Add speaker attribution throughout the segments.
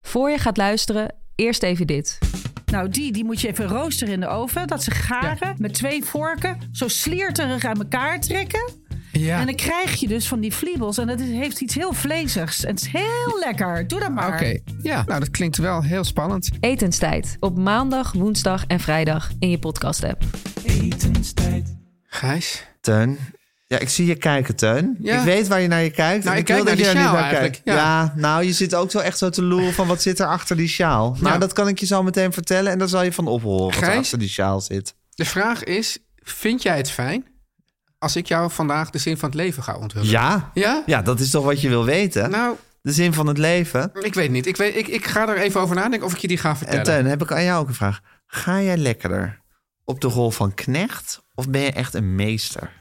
Speaker 1: Voor je gaat luisteren, eerst even dit.
Speaker 2: Nou, die, die moet je even roosteren in de oven. Dat ze garen met twee vorken zo slierterig aan elkaar trekken.
Speaker 3: Ja.
Speaker 2: En dan krijg je dus van die vliebels. En dat is- heeft iets heel vleesigs. En het is heel lekker. Doe dat maar.
Speaker 3: Oké, ja, nou dat klinkt wel heel spannend.
Speaker 1: Etenstijd. Op maandag, woensdag en vrijdag in je podcast-app.
Speaker 3: Gijs?
Speaker 4: Teun. Ja, ik zie je kijken, Teun.
Speaker 3: Ja.
Speaker 4: Ik weet waar je naar je kijkt.
Speaker 3: Nou,
Speaker 4: en
Speaker 3: ik kijk
Speaker 4: wil
Speaker 3: naar
Speaker 4: dat je
Speaker 3: die
Speaker 4: er niet
Speaker 3: sjaal
Speaker 4: naar kijkt. Ja.
Speaker 3: eigenlijk, ja.
Speaker 4: nou, je zit ook zo echt zo te loeren van wat zit er achter die sjaal. Nou,
Speaker 3: Ja.
Speaker 4: dat kan ik je zo meteen vertellen en dan zal je van ophoren wat er
Speaker 3: Gijs?
Speaker 4: achter die sjaal zit.
Speaker 3: De vraag is, vind jij het fijn als ik jou vandaag de zin van het leven ga onthullen?
Speaker 4: Ja?
Speaker 3: Ja?
Speaker 4: Ja, dat is toch wat je wil weten?
Speaker 3: Nou,
Speaker 4: De zin van het leven.
Speaker 3: ik weet niet. Ik, weet, ik, ik ga er even over nadenken of ik je die ga
Speaker 4: En
Speaker 3: vertellen.
Speaker 4: Teun, heb ik aan jou ook een vraag. Ga jij lekkerder op de rol van knecht of ben je echt een meester?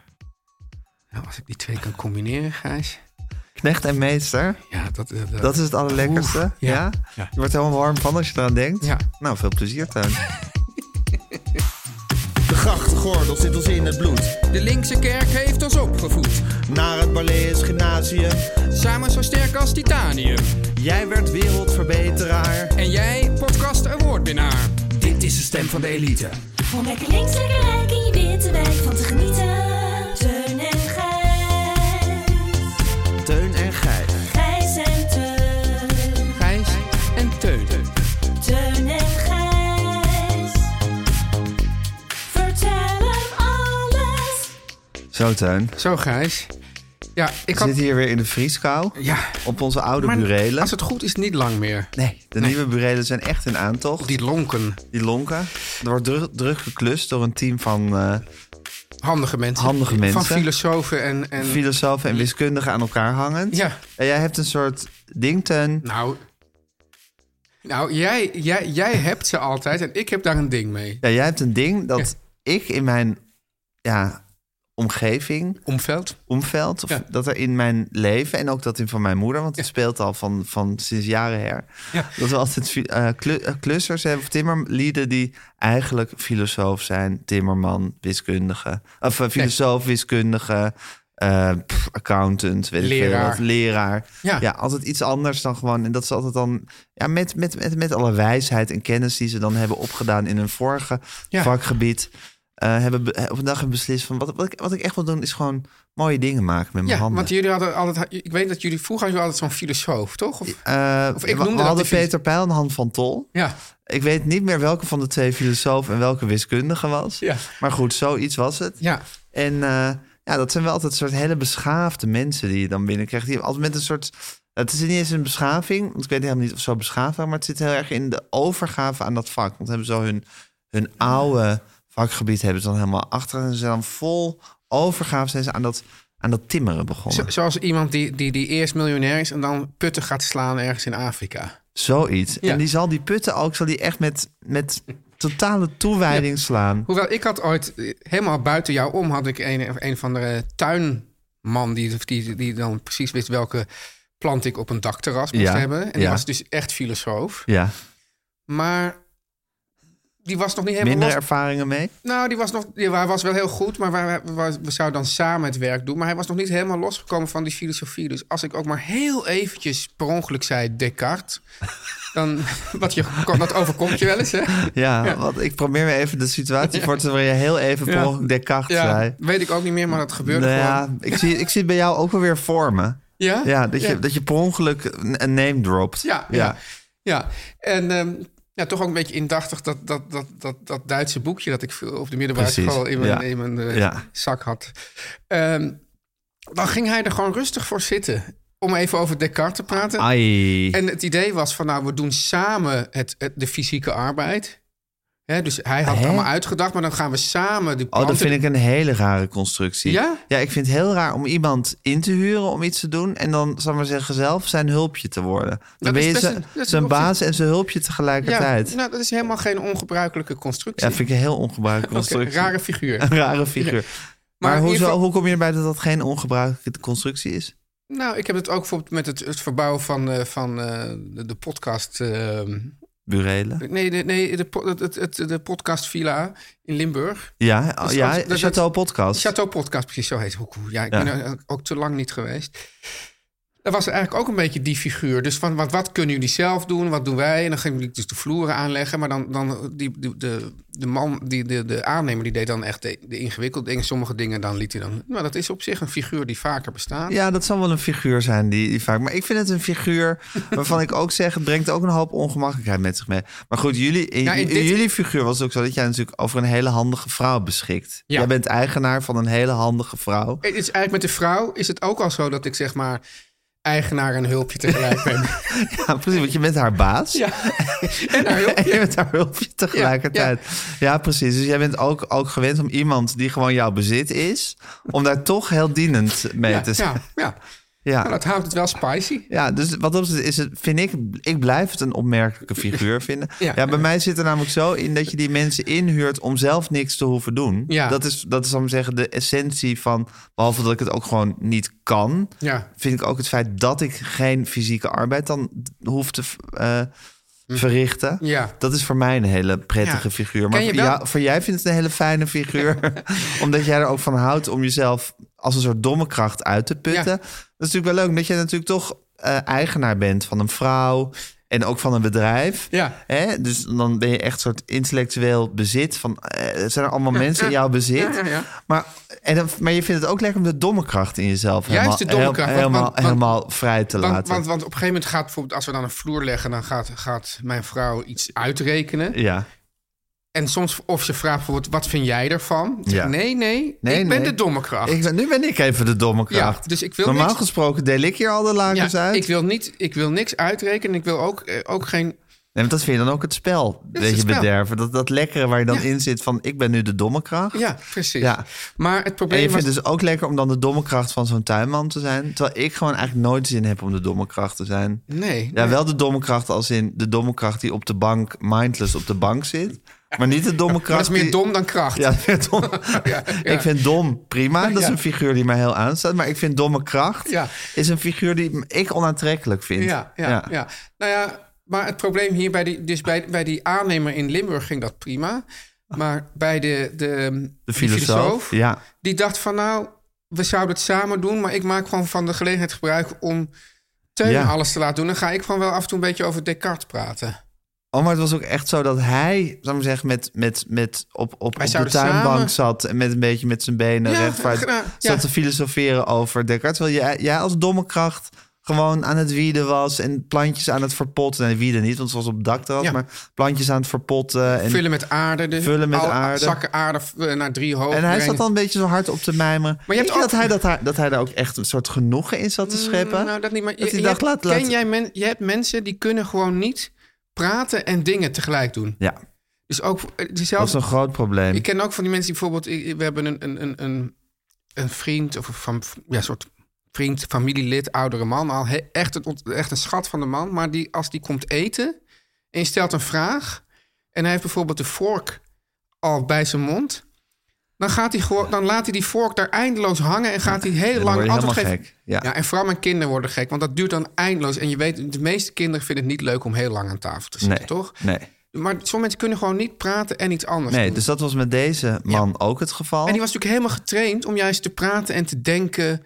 Speaker 3: Nou, als ik die twee kan combineren, Gijs.
Speaker 4: Knecht en meester,
Speaker 3: Ja, dat, eh,
Speaker 4: dat is het allerlekkerste.
Speaker 3: Oeh,
Speaker 4: ja?
Speaker 3: ja, ja.
Speaker 4: Je wordt er helemaal warm van als je eraan denkt.
Speaker 3: Ja.
Speaker 4: Nou, veel plezier, Teun.
Speaker 5: De grachtgordel zit ons in het bloed.
Speaker 6: De linkse kerk heeft ons opgevoed,
Speaker 5: Naar het Balees Gymnasium.
Speaker 6: samen zo sterk als titanium.
Speaker 5: Jij werd wereldverbeteraar.
Speaker 6: En jij, podcast awardwinnaar.
Speaker 5: Dit is de stem van de elite.
Speaker 7: Om lekker links, lekker rijk in je witte wijk van te genieten. Teun en Gijs.
Speaker 5: Teun en Gijs.
Speaker 7: Gijs en Teun.
Speaker 6: Gijs en Teun.
Speaker 7: Teun en Gijs. Vertel hem alles.
Speaker 4: Zo, Teun.
Speaker 3: Zo, Gijs. Ja, ik
Speaker 4: We
Speaker 3: had...
Speaker 4: zitten hier weer in de vrieskou.
Speaker 3: Ja,
Speaker 4: Op onze oude
Speaker 3: maar
Speaker 4: burelen.
Speaker 3: als het goed is, niet lang meer.
Speaker 4: Nee, de nieuwe burelen zijn echt in aantocht. Die,
Speaker 3: Die lonken.
Speaker 4: lonken. Er wordt druk, druk geklust door een team van eh,
Speaker 3: Handige mensen.
Speaker 4: Handige mensen.
Speaker 3: Van filosofen en... en...
Speaker 4: filosofen en wiskundigen aan elkaar hangend.
Speaker 3: Ja.
Speaker 4: En jij hebt een soort ding, Teun.
Speaker 3: Nou, nou jij, jij, jij hebt ze altijd en ik heb daar een ding mee.
Speaker 4: Ja, jij hebt een ding dat
Speaker 3: Ja.
Speaker 4: ik in mijn ja, omgeving,
Speaker 3: Omveld.
Speaker 4: omveld, of
Speaker 3: Ja.
Speaker 4: dat er in mijn leven en ook dat in van mijn moeder, want het speelt al van, van sinds jaren her,
Speaker 3: Ja.
Speaker 4: dat we altijd fi- eh, klu- eh, klussers hebben, of timmerlieden die eigenlijk filosoof zijn, timmerman, wiskundige, of eh, filosoof, wiskundige, eh, pff, accountant, weet ik veel
Speaker 3: Leraar.
Speaker 4: wat, leraar.
Speaker 3: Ja.
Speaker 4: ja, altijd iets anders dan gewoon. En dat ze altijd dan ja, met, met, met, met alle wijsheid en kennis die ze dan hebben opgedaan in hun vorige
Speaker 3: Ja.
Speaker 4: vakgebied. eh, hebben be- op een dag hebben beslist van wat, wat, ik, wat ik echt wil doen is gewoon mooie dingen maken met mijn
Speaker 3: Ja,
Speaker 4: handen.
Speaker 3: want jullie hadden altijd... Ik weet dat jullie vroeger hadden jullie altijd zo'n filosoof, toch? Of,
Speaker 4: Eh,
Speaker 3: of ik
Speaker 4: we- we
Speaker 3: noemde dat
Speaker 4: hadden
Speaker 3: die fil-
Speaker 4: Peter Pijl en Han van Tol.
Speaker 3: ja.
Speaker 4: Ik weet niet meer welke van de twee filosoof en welke wiskundige was.
Speaker 3: Ja.
Speaker 4: Maar goed, zoiets was het.
Speaker 3: ja.
Speaker 4: En eh, ja, dat zijn wel altijd soort hele beschaafde mensen die je dan binnenkrijgt. Die altijd met een soort. Het is niet eens een beschaving, want ik weet helemaal niet of zo beschaafd waren, maar het zit heel erg in de overgave aan dat vak. Want hebben zo hun, hun oude vakgebied hebben ze dan helemaal achter en ze zijn dan vol overgave zijn ze aan dat, aan dat timmeren begonnen.
Speaker 3: Zo- zoals iemand die, die, die eerst miljonair is en dan putten gaat slaan ergens in Afrika.
Speaker 4: Zoiets.
Speaker 3: Ja.
Speaker 4: En die zal die putten ook, zal die echt met, met totale toewijding slaan.
Speaker 3: Hoewel, ik had ooit, eh, helemaal buiten jou om, had ik een, een van de eh, tuinman die, die, die dan precies wist welke plant ik op een dakterras moest
Speaker 4: Ja,
Speaker 3: hebben. En die
Speaker 4: ja.
Speaker 3: was dus echt filosoof.
Speaker 4: Ja,
Speaker 3: Maar die was nog niet helemaal
Speaker 4: minder
Speaker 3: los-
Speaker 4: ervaringen mee.
Speaker 3: Nou, die was, nog, die wa- was wel heel goed, maar wij- wij- wij- we zouden dan samen het werk doen. Maar hij was nog niet helemaal losgekomen van die filosofie. Dus als ik ook maar heel eventjes per ongeluk zei Descartes... dan, wat je, dat overkomt je wel eens, hè?
Speaker 4: Ja, want ik probeer me even de situatie voor te stellen waarin je heel even per
Speaker 3: Ja.
Speaker 4: ongeluk Descartes
Speaker 3: Ja,
Speaker 4: zei.
Speaker 3: weet ik ook niet meer, maar dat gebeurde
Speaker 4: nou
Speaker 3: gewoon.
Speaker 4: ja, ik zie, ik zie het bij jou ook wel weer voor me.
Speaker 3: Ja?
Speaker 4: Ja, dat je,
Speaker 3: Ja.
Speaker 4: Dat je per ongeluk een, een name dropt.
Speaker 3: Ja, ja. ja. En ehm, ja, toch ook een beetje indachtig dat, dat, dat, dat, dat Duitse boekje dat ik veel op de middelbare
Speaker 4: Precies,
Speaker 3: school in mijn,
Speaker 4: ja.
Speaker 3: in mijn eh,
Speaker 4: Ja.
Speaker 3: zak had. Ehm, dan ging hij er gewoon rustig voor zitten om even over Descartes te
Speaker 4: Ah,
Speaker 3: praten.
Speaker 4: Ai.
Speaker 3: En het idee was van, nou, we doen samen het, het- de fysieke arbeid. Hè, dus hij had het
Speaker 4: Hè?
Speaker 3: allemaal uitgedacht, maar dan gaan we samen die
Speaker 4: Oh,
Speaker 3: planten-
Speaker 4: dat vind ik een hele rare constructie.
Speaker 3: Ja?
Speaker 4: Ja, ik vind het heel raar om iemand in te huren om iets te doen... en dan, zal ik maar zeggen, zelf zijn hulpje te worden. Dan
Speaker 3: is
Speaker 4: ben je
Speaker 3: best
Speaker 4: zijn-
Speaker 3: een- dat is
Speaker 4: zijn
Speaker 3: op zich-
Speaker 4: baas en zijn hulpje
Speaker 3: ja,
Speaker 4: tegelijkertijd. Ja,
Speaker 3: nou, dat is helemaal geen ongebruikelijke constructie.
Speaker 4: vind ik een heel
Speaker 3: Oké,
Speaker 4: ongebruikelijke constructie.
Speaker 3: rare figuur.
Speaker 4: Een rare figuur. Maar,
Speaker 3: Maar in
Speaker 4: hoezo,
Speaker 3: ieder geval-
Speaker 4: hoe kom je erbij dat dat geen ongebruikelijke constructie is?
Speaker 3: Nou, ik heb het ook bijvoorbeeld met het, het verbouwen van, eh, van eh, de, de podcast. eh,
Speaker 4: Burelen?
Speaker 3: nee, de, nee de, po- het, het, het- de podcast Villa in Limburg.
Speaker 4: Ja, oh,
Speaker 3: Dus
Speaker 4: ja
Speaker 3: dat- dat-
Speaker 4: Chateau Podcast.
Speaker 3: Chateau Podcast, precies zo heet het. Hoe cool. Ja, ik
Speaker 4: Ja.
Speaker 3: ben er ook te lang niet geweest. Dat was eigenlijk ook een beetje die figuur. Dus van wat, wat kunnen jullie zelf doen? Wat doen wij? En dan gingen jullie dus de vloeren aanleggen. Maar dan, dan die, die- de, de man, die, de, de aannemer, die deed dan echt de, de ingewikkelde dingen. Sommige dingen dan liet hij dan. Nou, dat is op zich een figuur die vaker bestaat.
Speaker 4: Ja, dat zal wel een figuur zijn die, die vaak... Maar ik vind het een figuur waarvan ik ook zeg... het brengt ook een hoop ongemakkelijkheid met zich mee. Maar goed, jullie, in,
Speaker 3: Ja, in
Speaker 4: in
Speaker 3: dit-
Speaker 4: jullie figuur was het ook zo... dat jij natuurlijk over een hele handige vrouw beschikt.
Speaker 3: Ja.
Speaker 4: Jij bent eigenaar van een hele handige vrouw.
Speaker 3: Het Eh, is eigenlijk met de vrouw is het ook al zo dat ik zeg maar eigenaar en hulpje tegelijk ben.
Speaker 4: Ja, precies, want je bent haar baas.
Speaker 3: ja. En haar hulpje.
Speaker 4: En je bent haar hulpje tegelijkertijd. Ja, precies. Dus jij bent ook, ook gewend om iemand die gewoon jouw bezit is... om daar toch heel dienend mee
Speaker 3: Ja,
Speaker 4: te zijn.
Speaker 3: ja, ja.
Speaker 4: Ja.
Speaker 3: Nou, dat houdt het wel spicy.
Speaker 4: Ja, dus wat dat betreft is het, vind ik, ik blijf het een opmerkelijke figuur vinden. Ja.
Speaker 3: Ja.
Speaker 4: bij mij zit er namelijk zo in dat je die mensen inhuurt om zelf niks te hoeven doen.
Speaker 3: Ja.
Speaker 4: Dat is, dat is zal ik maar zeggen, de essentie van, behalve dat ik het ook gewoon niet kan,
Speaker 3: Ja.
Speaker 4: vind ik ook het feit dat ik geen fysieke arbeid dan hoef te eh, verrichten.
Speaker 3: Ja.
Speaker 4: Dat is voor mij een hele prettige
Speaker 3: Ja.
Speaker 4: figuur. Maar
Speaker 3: Ken je
Speaker 4: voor,
Speaker 3: wel-
Speaker 4: jou- voor jij vindt het een hele fijne figuur. omdat jij er ook van houdt om jezelf als een soort domme kracht uit te putten.
Speaker 3: Ja.
Speaker 4: Dat is natuurlijk wel leuk. Omdat jij natuurlijk toch eh, eigenaar bent van een vrouw. En ook van een bedrijf.
Speaker 3: Ja.
Speaker 4: Hè? Dus dan ben je echt een soort intellectueel bezit. Van, eh, zijn er allemaal mensen in jouw bezit?
Speaker 3: ja, ja.
Speaker 4: Maar, en dan, maar je vindt het ook lekker om de domme kracht in jezelf
Speaker 3: Juist
Speaker 4: helemaal,
Speaker 3: de domme
Speaker 4: heel-
Speaker 3: kracht, want-
Speaker 4: helemaal,
Speaker 3: want- want-
Speaker 4: helemaal vrij te
Speaker 3: Want,
Speaker 4: laten.
Speaker 3: want, want op een gegeven moment gaat bijvoorbeeld, als we dan een vloer leggen, dan gaat, gaat mijn vrouw iets uitrekenen.
Speaker 4: ja.
Speaker 3: En soms, of ze vraagt bijvoorbeeld, wat vind jij ervan? Dan zeg ik,
Speaker 4: Ja.
Speaker 3: Nee, nee,
Speaker 4: Nee,
Speaker 3: ik ben
Speaker 4: nee.
Speaker 3: de domme kracht.
Speaker 4: Ik ben, nu ben ik even de domme kracht.
Speaker 3: dus ik wil
Speaker 4: Normaal
Speaker 3: niks-
Speaker 4: gesproken deel ik hier al de
Speaker 3: Ja,
Speaker 4: lakens dus uit.
Speaker 3: ik, wil niet, ik wil niks uitrekenen. Ik wil ook, eh, ook geen
Speaker 4: Nee, want dat vind je dan ook het spel.
Speaker 3: is
Speaker 4: Dat je
Speaker 3: het spel.
Speaker 4: bederven. Dat, dat lekkere waar je dan
Speaker 3: Ja.
Speaker 4: in zit van ik ben nu de domme kracht.
Speaker 3: Ja, precies.
Speaker 4: Ja.
Speaker 3: Maar het
Speaker 4: En
Speaker 3: probleem
Speaker 4: je
Speaker 3: was...
Speaker 4: vindt het dus ook lekker om dan de domme kracht van zo'n tuinman te zijn. Terwijl ik gewoon eigenlijk nooit zin heb om de domme kracht te zijn.
Speaker 3: Nee.
Speaker 4: dus- Ja, wel de domme kracht als in de domme kracht die op de bank, mindless op de bank zit. Maar niet de domme kracht.
Speaker 3: Maar dat is meer
Speaker 4: die-
Speaker 3: dom dan kracht.
Speaker 4: Ja, meer dom. Ik vind dom prima. Dat is
Speaker 3: Ja.
Speaker 4: een figuur die mij heel aanstaat. Maar ik vind domme kracht
Speaker 3: Ja.
Speaker 4: is een figuur die ik onaantrekkelijk vind.
Speaker 3: Ja, ja, ja. Nou ja, maar het probleem hier bij die, dus bij, bij die aannemer in Limburg ging dat prima. Maar bij de, de,
Speaker 4: De
Speaker 3: die
Speaker 4: filosoof. Ja.
Speaker 3: die dacht van nou, we zouden het samen doen, maar ik maak gewoon van de gelegenheid gebruik om Teun
Speaker 4: Ja.
Speaker 3: alles te laten doen. Dan ga ik gewoon wel af en toe een beetje over Descartes praten.
Speaker 4: Oh, maar het was ook echt zo dat hij, zou ik zeggen, met, met, met op, op, op de
Speaker 3: zouden
Speaker 4: tuinbank
Speaker 3: samen-
Speaker 4: zat en met een beetje met zijn benen
Speaker 3: Ja,
Speaker 4: rechtvaart
Speaker 3: nou, ja.
Speaker 4: zat te filosoferen over Descartes. Terwijl jij, jij als domme kracht gewoon aan het wieden was en plantjes aan het verpotten. Nee, wieden niet, want het was op het dakterras,
Speaker 3: Ja.
Speaker 4: maar plantjes aan het verpotten. En,
Speaker 3: vullen met aarde. Dus
Speaker 4: Vullen met aarde.
Speaker 3: Zakken aarde eh, naar drie hoog.
Speaker 4: en hij
Speaker 3: brengen.
Speaker 4: zat dan een beetje zo hard op te mijmeren. Maar
Speaker 3: je
Speaker 4: je
Speaker 3: hebt
Speaker 4: hebt dat,
Speaker 3: ook-
Speaker 4: hij, dat, hij, dat hij daar ook echt een soort genoegen in zat te scheppen?
Speaker 3: Nou, dat niet, maar je,
Speaker 4: Dat hij
Speaker 3: je
Speaker 4: dacht,
Speaker 3: hebt-
Speaker 4: laat- laat-
Speaker 3: ken jij men, je hebt mensen die kunnen gewoon niet praten en dingen tegelijk doen.
Speaker 4: Ja,
Speaker 3: Dus ook eh,
Speaker 4: dat is
Speaker 3: dezelfde.
Speaker 4: een groot probleem.
Speaker 3: Ik ken ook van die mensen die bijvoorbeeld, ik- we hebben een, een, een, een, een vriend of een van, ja, een soort vriend, familielid, oudere man, al he- echt, een, ont- echt een schat van de man, maar die als die komt eten en je stelt een vraag en hij heeft bijvoorbeeld de vork al bij zijn mond. Dan, gaat hij gewoon, dan laat hij die vork daar eindeloos hangen en gaat hij heel
Speaker 4: dan word
Speaker 3: lang
Speaker 4: je
Speaker 3: antwoord
Speaker 4: helemaal
Speaker 3: geven.
Speaker 4: gek. Ja.
Speaker 3: en vooral mijn kinderen worden gek, want dat duurt dan eindeloos. En je weet, de meeste kinderen vinden het niet leuk om heel lang aan tafel te zitten,
Speaker 4: nee,
Speaker 3: toch?
Speaker 4: Nee.
Speaker 3: Maar sommige mensen kunnen gewoon niet praten en iets anders
Speaker 4: Nee,
Speaker 3: doen.
Speaker 4: dus dat was met deze man ook het geval.
Speaker 3: En die was natuurlijk helemaal getraind om juist te praten en te denken.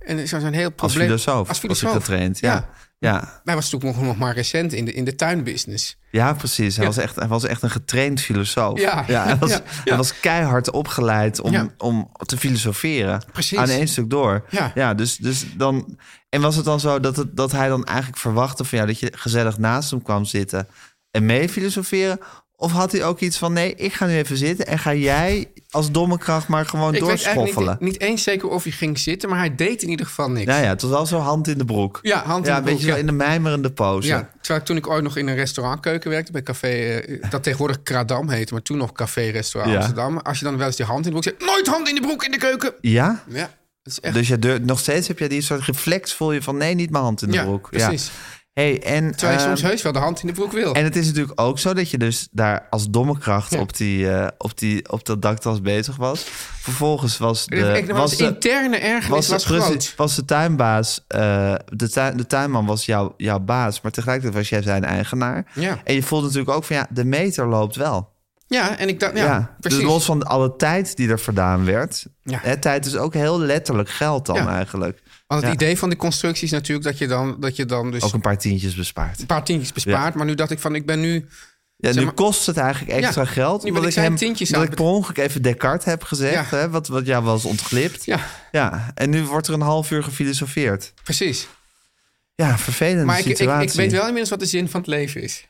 Speaker 3: En zo zijn heel
Speaker 4: Als
Speaker 3: probleem. Als
Speaker 4: filosoof was hij
Speaker 3: filosoof.
Speaker 4: getraind, ja. Ja,
Speaker 3: Hij was natuurlijk nog, nog maar recent in de, in de tuinbusiness.
Speaker 4: ja precies. Hij, Was echt, hij was echt een getraind filosoof.
Speaker 3: Ja.
Speaker 4: hij, was,
Speaker 3: Ja, ja.
Speaker 4: hij was keihard opgeleid om,
Speaker 3: Ja.
Speaker 4: om te filosoferen.
Speaker 3: Precies.
Speaker 4: Aan één stuk door.
Speaker 3: Ja.
Speaker 4: dus, dus dan, en was het dan zo dat, het, dat hij dan eigenlijk verwachtte van jou... dat je gezellig naast hem kwam zitten en mee filosoferen... Of had hij ook iets van, nee, ik ga nu even zitten... en ga jij als domme kracht maar gewoon
Speaker 3: Ik weet eigenlijk
Speaker 4: doorschoffelen?
Speaker 3: niet, niet eens zeker of hij ging zitten, maar hij deed in ieder geval niks.
Speaker 4: Ja, ja, het was wel zo hand in de broek.
Speaker 3: Ja, hand in de
Speaker 4: ja, een
Speaker 3: broek,
Speaker 4: beetje
Speaker 3: ja.
Speaker 4: zo in de mijmerende pose.
Speaker 3: Ja, terwijl ik toen ik ooit nog in een restaurantkeuken werkte, bij café, eh, dat tegenwoordig Kradam heette, maar toen nog Café Restaurant
Speaker 4: Ja.
Speaker 3: Amsterdam. Als je dan wel eens die hand in de broek zet, nooit hand in de broek in de keuken.
Speaker 4: Ja?
Speaker 3: Ja, dat is echt.
Speaker 4: Dus je durft, nog steeds heb je die soort reflex, voel je van nee, niet mijn hand in de
Speaker 3: ja,
Speaker 4: broek.
Speaker 3: precies.
Speaker 4: Hey, en,
Speaker 3: Terwijl je
Speaker 4: ehm,
Speaker 3: soms heus wel de hand in de broek wil.
Speaker 4: en het is natuurlijk ook zo dat je dus daar als domme kracht
Speaker 3: Ja.
Speaker 4: op, die, eh, op, die, op dat daktas bezig was. Vervolgens was
Speaker 3: Ik denk
Speaker 4: de,
Speaker 3: dat
Speaker 4: was
Speaker 3: het
Speaker 4: de,
Speaker 3: interne ergernis was,
Speaker 4: was, de, precies-
Speaker 3: groot.
Speaker 4: was de tuinbaas, eh, de, tuin, de tuinman was jouw jouw baas, maar tegelijkertijd was jij zijn eigenaar.
Speaker 3: Ja.
Speaker 4: En je voelde natuurlijk ook van ja, de meter loopt wel.
Speaker 3: Ja, en ik dacht, ja,
Speaker 4: Ja,
Speaker 3: precies.
Speaker 4: Dus los van alle tijd die er verdaan werd.
Speaker 3: Ja.
Speaker 4: Hè, tijd is ook heel letterlijk geld dan
Speaker 3: Ja.
Speaker 4: eigenlijk.
Speaker 3: Want het
Speaker 4: Ja.
Speaker 3: idee van die constructie is natuurlijk dat je dan, dat je dan dus
Speaker 4: Ook een paar tientjes bespaard.
Speaker 3: een paar tientjes bespaart. Maar nu dacht ik van, ik ben nu...
Speaker 4: Ja,
Speaker 3: Zeg
Speaker 4: nu
Speaker 3: maar-
Speaker 4: kost het eigenlijk extra
Speaker 3: Ja,
Speaker 4: geld.
Speaker 3: nu ben
Speaker 4: omdat
Speaker 3: ik
Speaker 4: ik
Speaker 3: zijn
Speaker 4: hem,
Speaker 3: tientjes
Speaker 4: dat
Speaker 3: aan
Speaker 4: ik
Speaker 3: het
Speaker 4: per ongeluk even Descartes heb gezegd.
Speaker 3: Ja.
Speaker 4: Hè, wat, wat jou was ontglipt.
Speaker 3: Ja,
Speaker 4: Ja, En nu wordt er een half uur gefilosofeerd.
Speaker 3: precies.
Speaker 4: Ja, vervelende
Speaker 3: Maar ik, ik,
Speaker 4: situatie.
Speaker 3: ik weet wel inmiddels wat de zin van het leven is.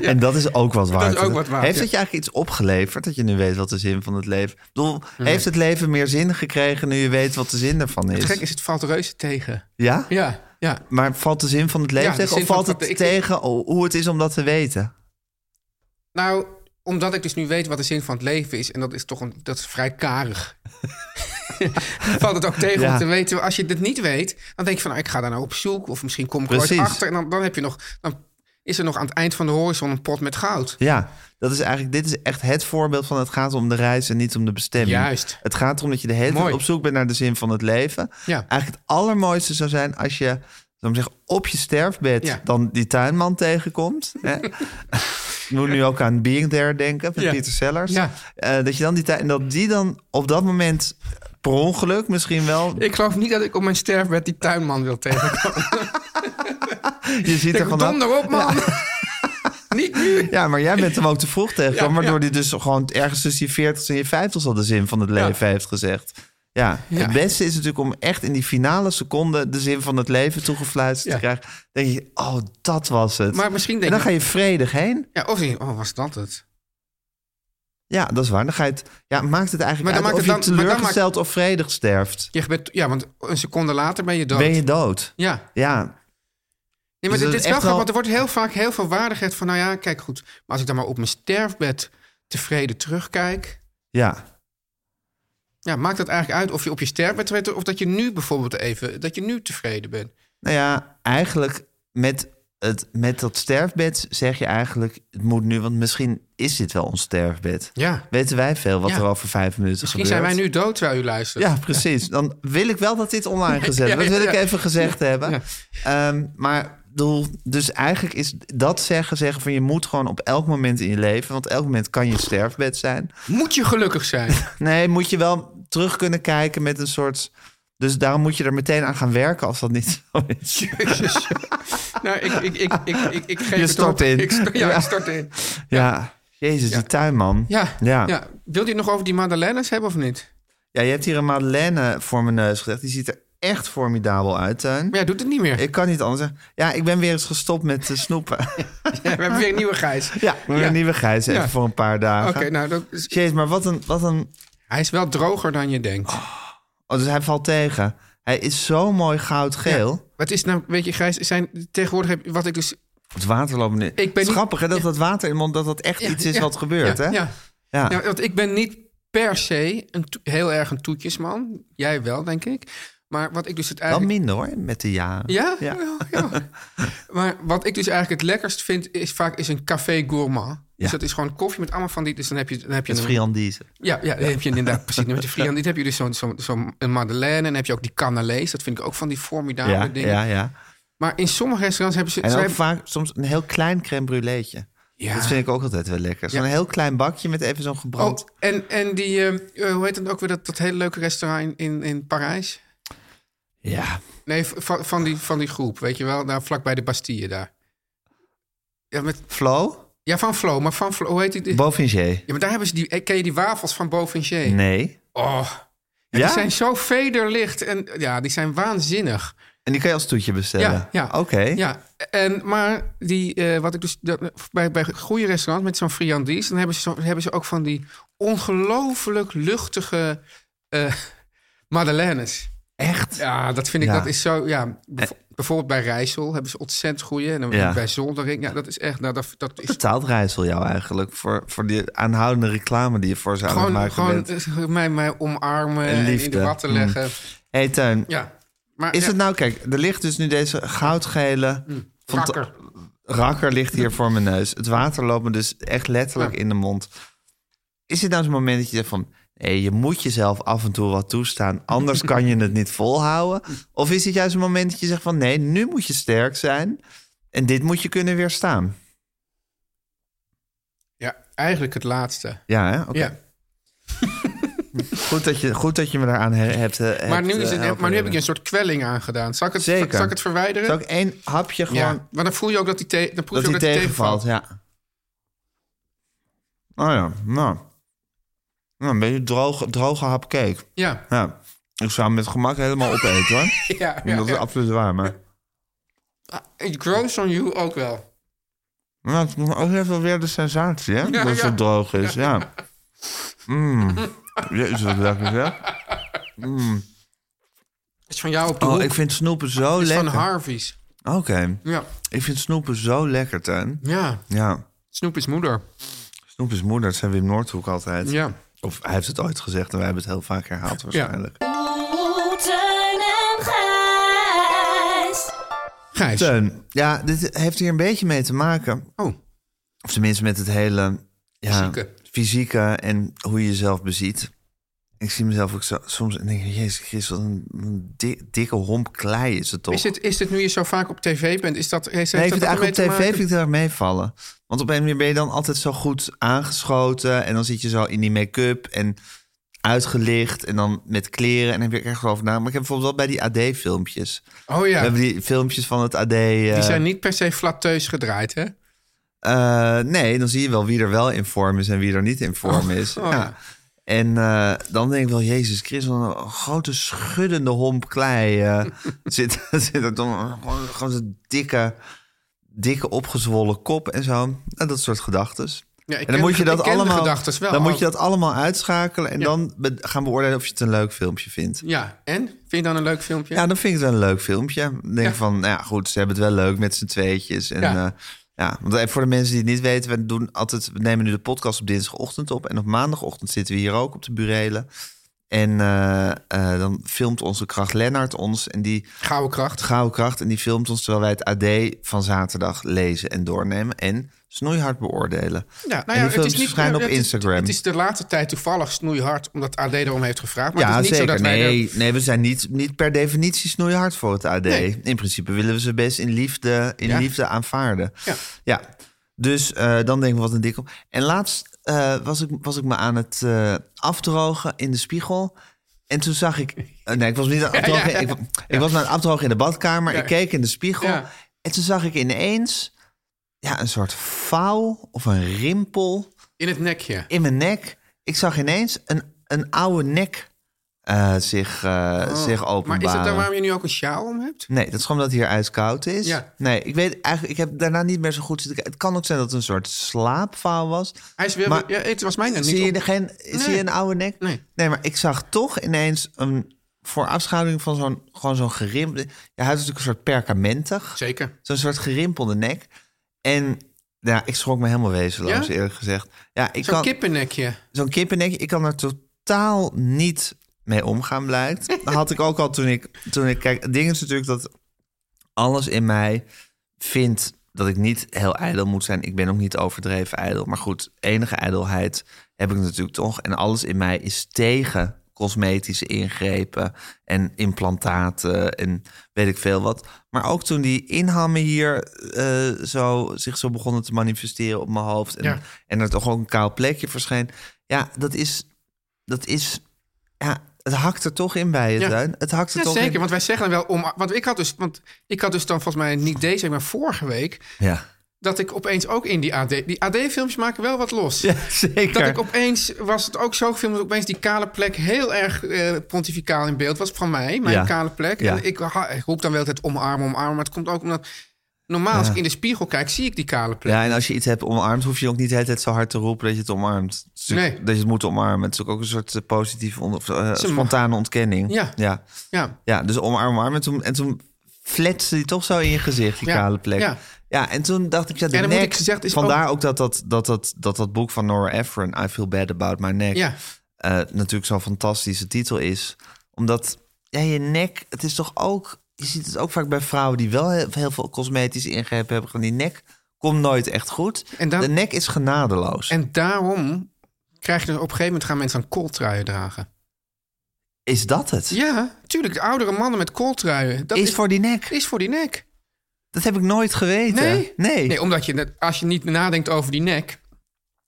Speaker 4: En dat is ook wat waard.
Speaker 3: ook wat waard,
Speaker 4: Heeft
Speaker 3: ja.
Speaker 4: het je eigenlijk iets opgeleverd dat je nu weet wat de zin van het leven... Ik bedoel, heeft het leven meer zin gekregen nu je weet wat de zin ervan
Speaker 3: Het
Speaker 4: is?
Speaker 3: gek is, het valt reuze tegen.
Speaker 4: Ja?
Speaker 3: Ja, ja.
Speaker 4: Maar valt de zin van het leven
Speaker 3: Ja, de
Speaker 4: tegen? Of
Speaker 3: zin van
Speaker 4: valt
Speaker 3: het-
Speaker 4: het
Speaker 3: ik-
Speaker 4: tegen hoe het is om dat te weten?
Speaker 3: Nou, omdat ik dus nu weet wat de zin van het leven is... en dat is toch een, dat is vrij karig. valt het ook tegen
Speaker 4: Ja.
Speaker 3: om te weten. Als je dit niet weet, dan denk je van... nou, ik ga daar nou op zoek of misschien kom ik er ooit
Speaker 4: Precies.
Speaker 3: achter. En dan, dan, heb je nog, dan is er nog aan het eind van de horizon een pot met goud.
Speaker 4: Ja, dat is eigenlijk, dit is echt het voorbeeld van het gaat om de reis en niet om de bestemming.
Speaker 3: Juist.
Speaker 4: Het gaat erom dat je de hele tijd
Speaker 3: Mooi.
Speaker 4: op zoek bent naar de zin van het leven.
Speaker 3: Ja.
Speaker 4: Eigenlijk het allermooiste zou zijn als je zou ik maar zeggen, op je sterfbed
Speaker 3: Ja.
Speaker 4: dan die tuinman tegenkomt. Hè? Ik moet nu ook aan Being There denken van
Speaker 3: Ja.
Speaker 4: Peter Sellers.
Speaker 3: Ja.
Speaker 4: Eh, dat je dan die tuin, en dat die dan op dat moment per ongeluk misschien wel...
Speaker 3: Ik geloof niet dat ik op mijn sterfbed die tuinman wil tegenkomen.
Speaker 4: Je ziet er
Speaker 3: Ik
Speaker 4: vanaf.
Speaker 3: donder op, man. niet nu.
Speaker 4: Ja, maar jij bent hem ook te vroeg tegengekomen.
Speaker 3: Ja,
Speaker 4: waardoor
Speaker 3: ja.
Speaker 4: hij dus gewoon ergens tussen je 40 en je 50 al de zin van het leven heeft gezegd. Ja,
Speaker 3: Ja.
Speaker 4: het beste is natuurlijk om echt in die finale seconde de zin van het leven toegefluisterd
Speaker 3: Ja.
Speaker 4: te krijgen. Dan denk je, oh, dat was het.
Speaker 3: Maar misschien
Speaker 4: en
Speaker 3: denk
Speaker 4: dan
Speaker 3: ik...
Speaker 4: ga je vredig heen.
Speaker 3: Ja, of niet. Oh, was dat het?
Speaker 4: Ja, dat is waar. Dan ga je het, ja, maakt het eigenlijk
Speaker 3: Maar dan
Speaker 4: uit
Speaker 3: maakt
Speaker 4: of
Speaker 3: het
Speaker 4: je
Speaker 3: dan- maar dan
Speaker 4: teleurgesteld of vredig sterft.
Speaker 3: Je bent, ja, want een seconde later ben je dood.
Speaker 4: Ben je dood?
Speaker 3: Ja.
Speaker 4: Ja,
Speaker 3: Nee,
Speaker 4: Dus
Speaker 3: maar
Speaker 4: dat
Speaker 3: dit,
Speaker 4: is
Speaker 3: dit is wel grappig,
Speaker 4: echt wel-
Speaker 3: want er wordt heel vaak heel veel waardigheid van... Nou ja, kijk goed. Maar als ik dan maar op mijn sterfbed tevreden terugkijk...
Speaker 4: ja.
Speaker 3: Ja, maakt dat eigenlijk uit of je op je sterfbed tevreden... of dat je nu bijvoorbeeld even... dat je nu tevreden bent.
Speaker 4: Nou ja, eigenlijk met, het, met dat sterfbed zeg je eigenlijk... het moet nu, want misschien is dit wel ons sterfbed.
Speaker 3: Ja.
Speaker 4: Weten wij veel wat
Speaker 3: Ja.
Speaker 4: er over vijf minuten
Speaker 3: Misschien zijn
Speaker 4: gebeurt?
Speaker 3: wij nu dood terwijl u luistert.
Speaker 4: Ja, precies. Dan wil ik wel dat dit online gezet
Speaker 3: Ja,
Speaker 4: wordt. Dat wil
Speaker 3: ja,
Speaker 4: ik
Speaker 3: ja.
Speaker 4: even gezegd hebben.
Speaker 3: ja.
Speaker 4: Ehm, maar doel, dus eigenlijk is dat zeggen, zeggen van je moet gewoon op elk moment in je leven... want elk moment kan je sterfbed zijn.
Speaker 3: Moet je gelukkig zijn.
Speaker 4: Nee, moet je wel terug kunnen kijken met een soort... Dus daarom moet je er meteen aan gaan werken als dat niet zo is.
Speaker 3: Jezus. nou, ik, ik, ik, ik, ik, ik geef
Speaker 4: Je
Speaker 3: het
Speaker 4: stort
Speaker 3: op.
Speaker 4: in.
Speaker 3: Ik sto- ja,
Speaker 4: Ja.
Speaker 3: ik stort in.
Speaker 4: Ja, jezus, die tuinman.
Speaker 3: Ja,
Speaker 4: Ja.
Speaker 3: ja. Wilt u het nog over die Madeleines hebben of niet?
Speaker 4: Ja, je hebt hier een Madeleine eh, voor mijn neus gezegd. Die ziet er echt formidabel uit, Teun.
Speaker 3: Maar jij doet het niet meer.
Speaker 4: Ik kan niet anders zeggen. Ja, ik ben weer eens gestopt met eh, snoepen.
Speaker 3: We hebben weer een nieuwe Gijs.
Speaker 4: Ja, we hebben een nieuwe Gijs even
Speaker 3: Ja.
Speaker 4: voor een paar dagen.
Speaker 3: Oké, nou, dat is-
Speaker 4: Jeez, maar wat een, wat een...
Speaker 3: hij is wel droger dan je denkt.
Speaker 4: Oh, dus hij valt tegen. Hij is zo mooi goudgeel.
Speaker 3: Wat is nou, weet je, Grijs, zijn tegenwoordig heb, wat ik dus.
Speaker 4: Het water loopt nu.
Speaker 3: ben
Speaker 4: Het is
Speaker 3: niet-
Speaker 4: grappig hè, dat dat water in mond, dat dat echt iets is
Speaker 3: ja,
Speaker 4: wat gebeurt.
Speaker 3: ja,
Speaker 4: hè? Ah.
Speaker 3: Ja. Nou,
Speaker 4: Ja.
Speaker 3: Ja, want ik ben niet per se een to- heel erg een toetjesman. Jij wel, denk ik. Maar wat ik dus het
Speaker 4: Wel
Speaker 3: eigenlijk.
Speaker 4: minder hoor, met de jaren.
Speaker 3: Ja?
Speaker 4: Ja.
Speaker 3: ja. Maar wat ik dus eigenlijk het lekkerst vind, is vaak is een café gourmand. Dus
Speaker 4: Ja.
Speaker 3: dat is gewoon koffie met allemaal van die. Dus dan heb je, dan heb je
Speaker 4: Met
Speaker 3: een-
Speaker 4: friandise.
Speaker 3: Ja, ja, dan heb je inderdaad precies met de friand. Dit heb je dus zo'n zo'n zo'n- een madeleine en dan heb je ook die canalees. Dat vind ik ook van die formidabele
Speaker 4: Ja,
Speaker 3: dingen.
Speaker 4: ja, ja.
Speaker 3: Maar in sommige restaurants hebben ze...
Speaker 4: En
Speaker 3: ze
Speaker 4: ook
Speaker 3: hebben-
Speaker 4: vaak soms een heel klein crème brûléetje.
Speaker 3: ja.
Speaker 4: Dat vind ik ook altijd wel lekker. Zo'n
Speaker 3: Ja.
Speaker 4: heel klein bakje met even zo'n
Speaker 3: Oh,
Speaker 4: gebrand...
Speaker 3: en, en die, eh, eh, hoe heet het ook weer, dat, dat hele leuke restaurant in, in, in Parijs?
Speaker 4: Ja.
Speaker 3: Nee, v- van, van, die, van die groep, weet je wel? Nou, vlakbij de Bastille daar. Ja, met,
Speaker 4: Flo?
Speaker 3: ja van Flo, maar van Flo, hoe heet die? Ja,
Speaker 4: Bovinger?
Speaker 3: maar daar hebben ze die, eh, ken je die wafels van Bovinger?
Speaker 4: Nee.
Speaker 3: Oh, ja,
Speaker 4: Ja?
Speaker 3: die zijn zo vederlicht en ja, die zijn waanzinnig.
Speaker 4: En die kan je als toetje bestellen?
Speaker 3: Ja, ja.
Speaker 4: Oké.
Speaker 3: Ja, en, maar die, eh, wat ik dus dat- bij, bij goede restaurants met zo'n friandies, dan hebben ze, zo- hebben ze ook van die ongelooflijk luchtige eh madeleines.
Speaker 4: Echt?
Speaker 3: Ja, dat vind ik,
Speaker 4: Ja.
Speaker 3: dat is zo, ja. bev- Bijvoorbeeld bij Rijssel hebben ze ontzettend goede. En dan
Speaker 4: Ja.
Speaker 3: bij Zoldering, ja, dat is echt, nou, dat, dat is
Speaker 4: Betaalt Rijssel jou eigenlijk voor, voor die aanhoudende reclame die je voor ze aan het
Speaker 3: gewoon,
Speaker 4: maken
Speaker 3: gewoon
Speaker 4: bent?
Speaker 3: eh, mij, mij omarmen
Speaker 4: En
Speaker 3: en, in de
Speaker 4: liefde.
Speaker 3: watten
Speaker 4: Mm.
Speaker 3: leggen.
Speaker 4: hey, Teun,
Speaker 3: Ja. Maar,
Speaker 4: is
Speaker 3: ja, Hm.
Speaker 4: het nou, kijk, er ligt dus nu deze goudgele fanta-
Speaker 3: rakker.
Speaker 4: rakker ligt hier voor mijn neus. Het water loopt me dus echt letterlijk
Speaker 3: Ja.
Speaker 4: in de mond. Is dit nou zo'n moment dat je zegt van... hé, je moet jezelf af en toe wat toestaan, anders kan je het niet volhouden? Of is dit juist een moment dat je zegt van... nee, nu moet je sterk zijn en dit moet je kunnen weerstaan?
Speaker 3: Ja, eigenlijk het laatste.
Speaker 4: Ja, hè? Oké.
Speaker 3: Ja.
Speaker 4: Goed, dat je, goed dat je me daaraan he- hebt, eh, hebt
Speaker 3: Maar nu,
Speaker 4: eh,
Speaker 3: is het,
Speaker 4: helpen
Speaker 3: maar nu heb ik je
Speaker 4: herinneren.
Speaker 3: een soort kwelling aangedaan. Zal ik het,
Speaker 4: Zeker.
Speaker 3: Zal ik het verwijderen?
Speaker 4: Zal ik één hapje gewoon...
Speaker 3: Ja, maar dan voel je ook dat die, te, dan proef
Speaker 4: dat
Speaker 3: je
Speaker 4: hij
Speaker 3: ook dat die
Speaker 4: tegenvalt,
Speaker 3: tegenvalt.
Speaker 4: ja. Oh ja, nou. Nou, een beetje droge, droge hap cake.
Speaker 3: Ja,
Speaker 4: Ja, ik zou hem met gemak helemaal opeten hoor.
Speaker 3: ja,
Speaker 4: dat
Speaker 3: ja,
Speaker 4: is
Speaker 3: ja.
Speaker 4: absoluut waar, maar...
Speaker 3: It grows on you ook wel.
Speaker 4: Maar nou, het is ook even weer de sensatie, hè? dat het
Speaker 3: ja.
Speaker 4: zo droog is, ja. Mmm. Jezus, wat lekker zeg.
Speaker 3: Het is van jou op de
Speaker 4: Oh,
Speaker 3: hoek.
Speaker 4: ik vind snoepen zo
Speaker 3: Het is van
Speaker 4: lekker.
Speaker 3: Harvey's.
Speaker 4: Oké,
Speaker 3: Ja.
Speaker 4: ik vind snoepen zo lekker, Tuin.
Speaker 3: ja,
Speaker 4: Ja,
Speaker 3: Snoep is moeder.
Speaker 4: snoep is moeder, dat zei Wim Noordhoek altijd.
Speaker 3: Ja.
Speaker 4: Of hij heeft het ooit gezegd en wij hebben het heel vaak herhaald waarschijnlijk.
Speaker 7: Oeh, Oh, Teun en Gijs.
Speaker 3: Gijs.
Speaker 4: Teun, ja, dit heeft hier een beetje mee te maken.
Speaker 3: Oh,
Speaker 4: Of tenminste met het hele ja,
Speaker 3: Fysieke.
Speaker 4: fysieke en hoe je jezelf beziet. Ik zie mezelf ook zo, soms en denk ik, Jezus Christus, wat een, een di- dikke homp klei is het toch?
Speaker 3: is dit, is dit nu je zo vaak op tv bent? Is dat, heeft
Speaker 4: nee, ik
Speaker 3: dat
Speaker 4: vind het
Speaker 3: ermee
Speaker 4: eigenlijk
Speaker 3: te
Speaker 4: op tv
Speaker 3: maken?
Speaker 4: vind ik het heel erg meevallen. Want op een manier ben je dan altijd zo goed aangeschoten. En dan zit je zo in die make-up en uitgelicht. En dan met kleren. En dan heb je er echt wel over na. Maar ik heb bijvoorbeeld wel bij die AD-filmpjes.
Speaker 3: Oh
Speaker 4: We
Speaker 3: ja,
Speaker 4: hebben die filmpjes van het AD. eh,
Speaker 3: die zijn niet per se flatteus gedraaid, hè?
Speaker 4: Eh, nee, dan zie je wel wie er wel in vorm is en wie er niet in vorm is.
Speaker 3: oh.
Speaker 4: ja. En eh, dan denk ik wel, Jezus Christus, wat een grote schuddende homp klei eh, zit, zit er dan gewoon, gewoon zo'n dikke, dikke opgezwollen kop en zo. Nou, dat soort gedachten.
Speaker 3: Ja, ik
Speaker 4: en dan moet je dat allemaal,
Speaker 3: Gedachten wel.
Speaker 4: dan moet
Speaker 3: ook.
Speaker 4: je dat allemaal uitschakelen en
Speaker 3: Ja.
Speaker 4: dan be- gaan beoordelen of je het een leuk filmpje vindt.
Speaker 3: Ja, en? Vind je dan een leuk filmpje?
Speaker 4: Ja, dan vind ik het wel een leuk filmpje. Dan denk ik
Speaker 3: Ja.
Speaker 4: van, nou ja, goed, ze hebben het wel leuk met z'n tweetjes. En, ja.
Speaker 3: Ja.
Speaker 4: ja, want even voor de mensen die het niet weten, we, doen altijd, we nemen nu de podcast op dinsdagochtend op. En op maandagochtend zitten we hier ook op de burelen. En eh, eh, dan filmt onze kracht Lennart ons. En die
Speaker 3: Gouden kracht.
Speaker 4: gouden kracht, en die filmt ons terwijl wij het AD van zaterdag lezen en doornemen. En snoeihard beoordelen.
Speaker 3: Ja,
Speaker 4: En
Speaker 3: nou ja,
Speaker 4: die
Speaker 3: het
Speaker 4: filmpjes
Speaker 3: is niet
Speaker 4: verschijnen op
Speaker 3: het is-
Speaker 4: Instagram.
Speaker 3: Het is de laatste tijd toevallig snoeihard, omdat AD erom heeft gevraagd. Maar
Speaker 4: ja,
Speaker 3: het is niet
Speaker 4: zeker.
Speaker 3: zo dat wij
Speaker 4: nee,
Speaker 3: er-
Speaker 4: nee, we zijn niet, niet per definitie snoeihard voor het AD.
Speaker 3: Nee.
Speaker 4: In principe willen we ze best in liefde, in
Speaker 3: Ja.
Speaker 4: liefde aanvaarden.
Speaker 3: Ja.
Speaker 4: Dus eh, dan denk ik, wat een dikke... En laatst eh, was, ik, was ik me aan het eh, afdrogen in de spiegel. En toen zag ik... eh, nee, ik was niet aan het afdrogen. Ik, ik was me aan het afdrogen in de badkamer. Ik keek in de spiegel.
Speaker 3: Ja.
Speaker 4: En toen zag ik ineens ja, een soort vouw of een rimpel
Speaker 3: in het nekje.
Speaker 4: in mijn nek. Ik zag ineens een, een oude nek eh, zich, eh zich
Speaker 3: Oh, Maar
Speaker 4: openbaren.
Speaker 3: is het dan waarom je nu ook een sjaal om hebt?
Speaker 4: Nee, dat is gewoon dat het hier ijskoud is.
Speaker 3: Ja.
Speaker 4: Nee, ik weet eigenlijk, ik heb daarna niet meer zo goed zitten kijken. Het kan ook zijn dat het een soort slaapvouw was.
Speaker 3: Hij is weer,
Speaker 4: Maar-
Speaker 3: ja, het was mij net niet.
Speaker 4: Zie je,
Speaker 3: op.
Speaker 4: er geen, zie je een oude nek?
Speaker 3: Nee.
Speaker 4: maar ik zag toch ineens een voorafschaduwing van zo'n gewoon zo'n gerimpelde... Ja, hij is natuurlijk een soort perkamentig.
Speaker 3: Zeker.
Speaker 4: Zo'n soort gerimpelde nek. En ja, ik schrok me helemaal wezenloos,
Speaker 3: Ja?
Speaker 4: eerlijk gezegd. Ja, ik
Speaker 3: Zo'n
Speaker 4: kan,
Speaker 3: kippennekje.
Speaker 4: zo'n kippennek, ik kan er totaal niet mee omgaan, blijkt. Dat had ik ook al toen ik, toen ik... Kijk, het ding is natuurlijk dat alles in mij vindt dat ik niet heel ijdel moet zijn. Ik ben ook niet overdreven ijdel. Maar goed, enige ijdelheid heb ik natuurlijk toch. En alles in mij is tegen cosmetische ingrepen en implantaten en weet ik veel wat. Maar ook toen die inhammen hier eh, zo, zich zo begonnen te manifesteren op mijn hoofd... en,
Speaker 3: Ja.
Speaker 4: en er toch ook een kaal plekje verscheen. Ja, dat is... Dat is ja, het hakt er toch in bij je,
Speaker 3: Ja.
Speaker 4: Teun. Het hakt er
Speaker 3: Ja,
Speaker 4: toch
Speaker 3: zeker,
Speaker 4: in.
Speaker 3: want wij zeggen dan wel om... Want ik had dus, want ik had dus dan volgens mij niet deze week, maar vorige week...
Speaker 4: Ja,
Speaker 3: dat ik opeens ook in die AD... Die AD-films maken wel wat los.
Speaker 4: ja zeker.
Speaker 3: Dat ik opeens, was het ook zo gefilmd... dat opeens die kale plek heel erg eh, pontificaal in beeld was van mij. Mijn
Speaker 4: Ja.
Speaker 3: kale plek.
Speaker 4: Ja.
Speaker 3: En ik, ha- ik roep dan wel altijd omarmen, omarmen. Maar het komt ook omdat... Normaal als ik in de spiegel kijk, zie ik die kale plek.
Speaker 4: Ja, en als je iets hebt omarmd, hoef je ook niet de hele tijd zo hard te roepen dat je het omarmt. Het is natuurlijk-
Speaker 3: Nee.
Speaker 4: Dat je het moet omarmen. Het is ook, ook een soort eh, positieve, on- of, eh, spontane ontkenning.
Speaker 3: Ja.
Speaker 4: ja.
Speaker 3: Ja.
Speaker 4: Ja, dus omarm, omarm. En toen, en toen fletste die toch zo in je gezicht, die
Speaker 3: Ja,
Speaker 4: kale plek.
Speaker 3: ja.
Speaker 4: Ja. en toen dacht ik, ja, de
Speaker 3: En dan moet
Speaker 4: nek.
Speaker 3: ik gezegd, is
Speaker 4: vandaar ook, dat, dat, dat, dat, dat dat boek van Nora Ephron, I Feel Bad About My Neck,
Speaker 3: Ja.
Speaker 4: eh, natuurlijk zo'n fantastische titel is. Omdat, ja, je nek, het is toch ook... Je ziet het ook vaak bij vrouwen die wel heel, heel veel cosmetisch ingrepen hebben. Gewoon die nek komt nooit echt goed.
Speaker 3: En dan-
Speaker 4: de nek is genadeloos.
Speaker 3: En daarom krijg je dus op een gegeven moment... gaan mensen aan kooltruien dragen.
Speaker 4: is dat het?
Speaker 3: Ja, tuurlijk. De oudere mannen met kooltruien. Dat
Speaker 4: is, voor die nek.
Speaker 3: is voor die nek.
Speaker 4: Dat heb ik nooit geweten.
Speaker 3: Nee?
Speaker 4: Nee.
Speaker 3: Nee, omdat je, net- als je niet nadenkt over die nek,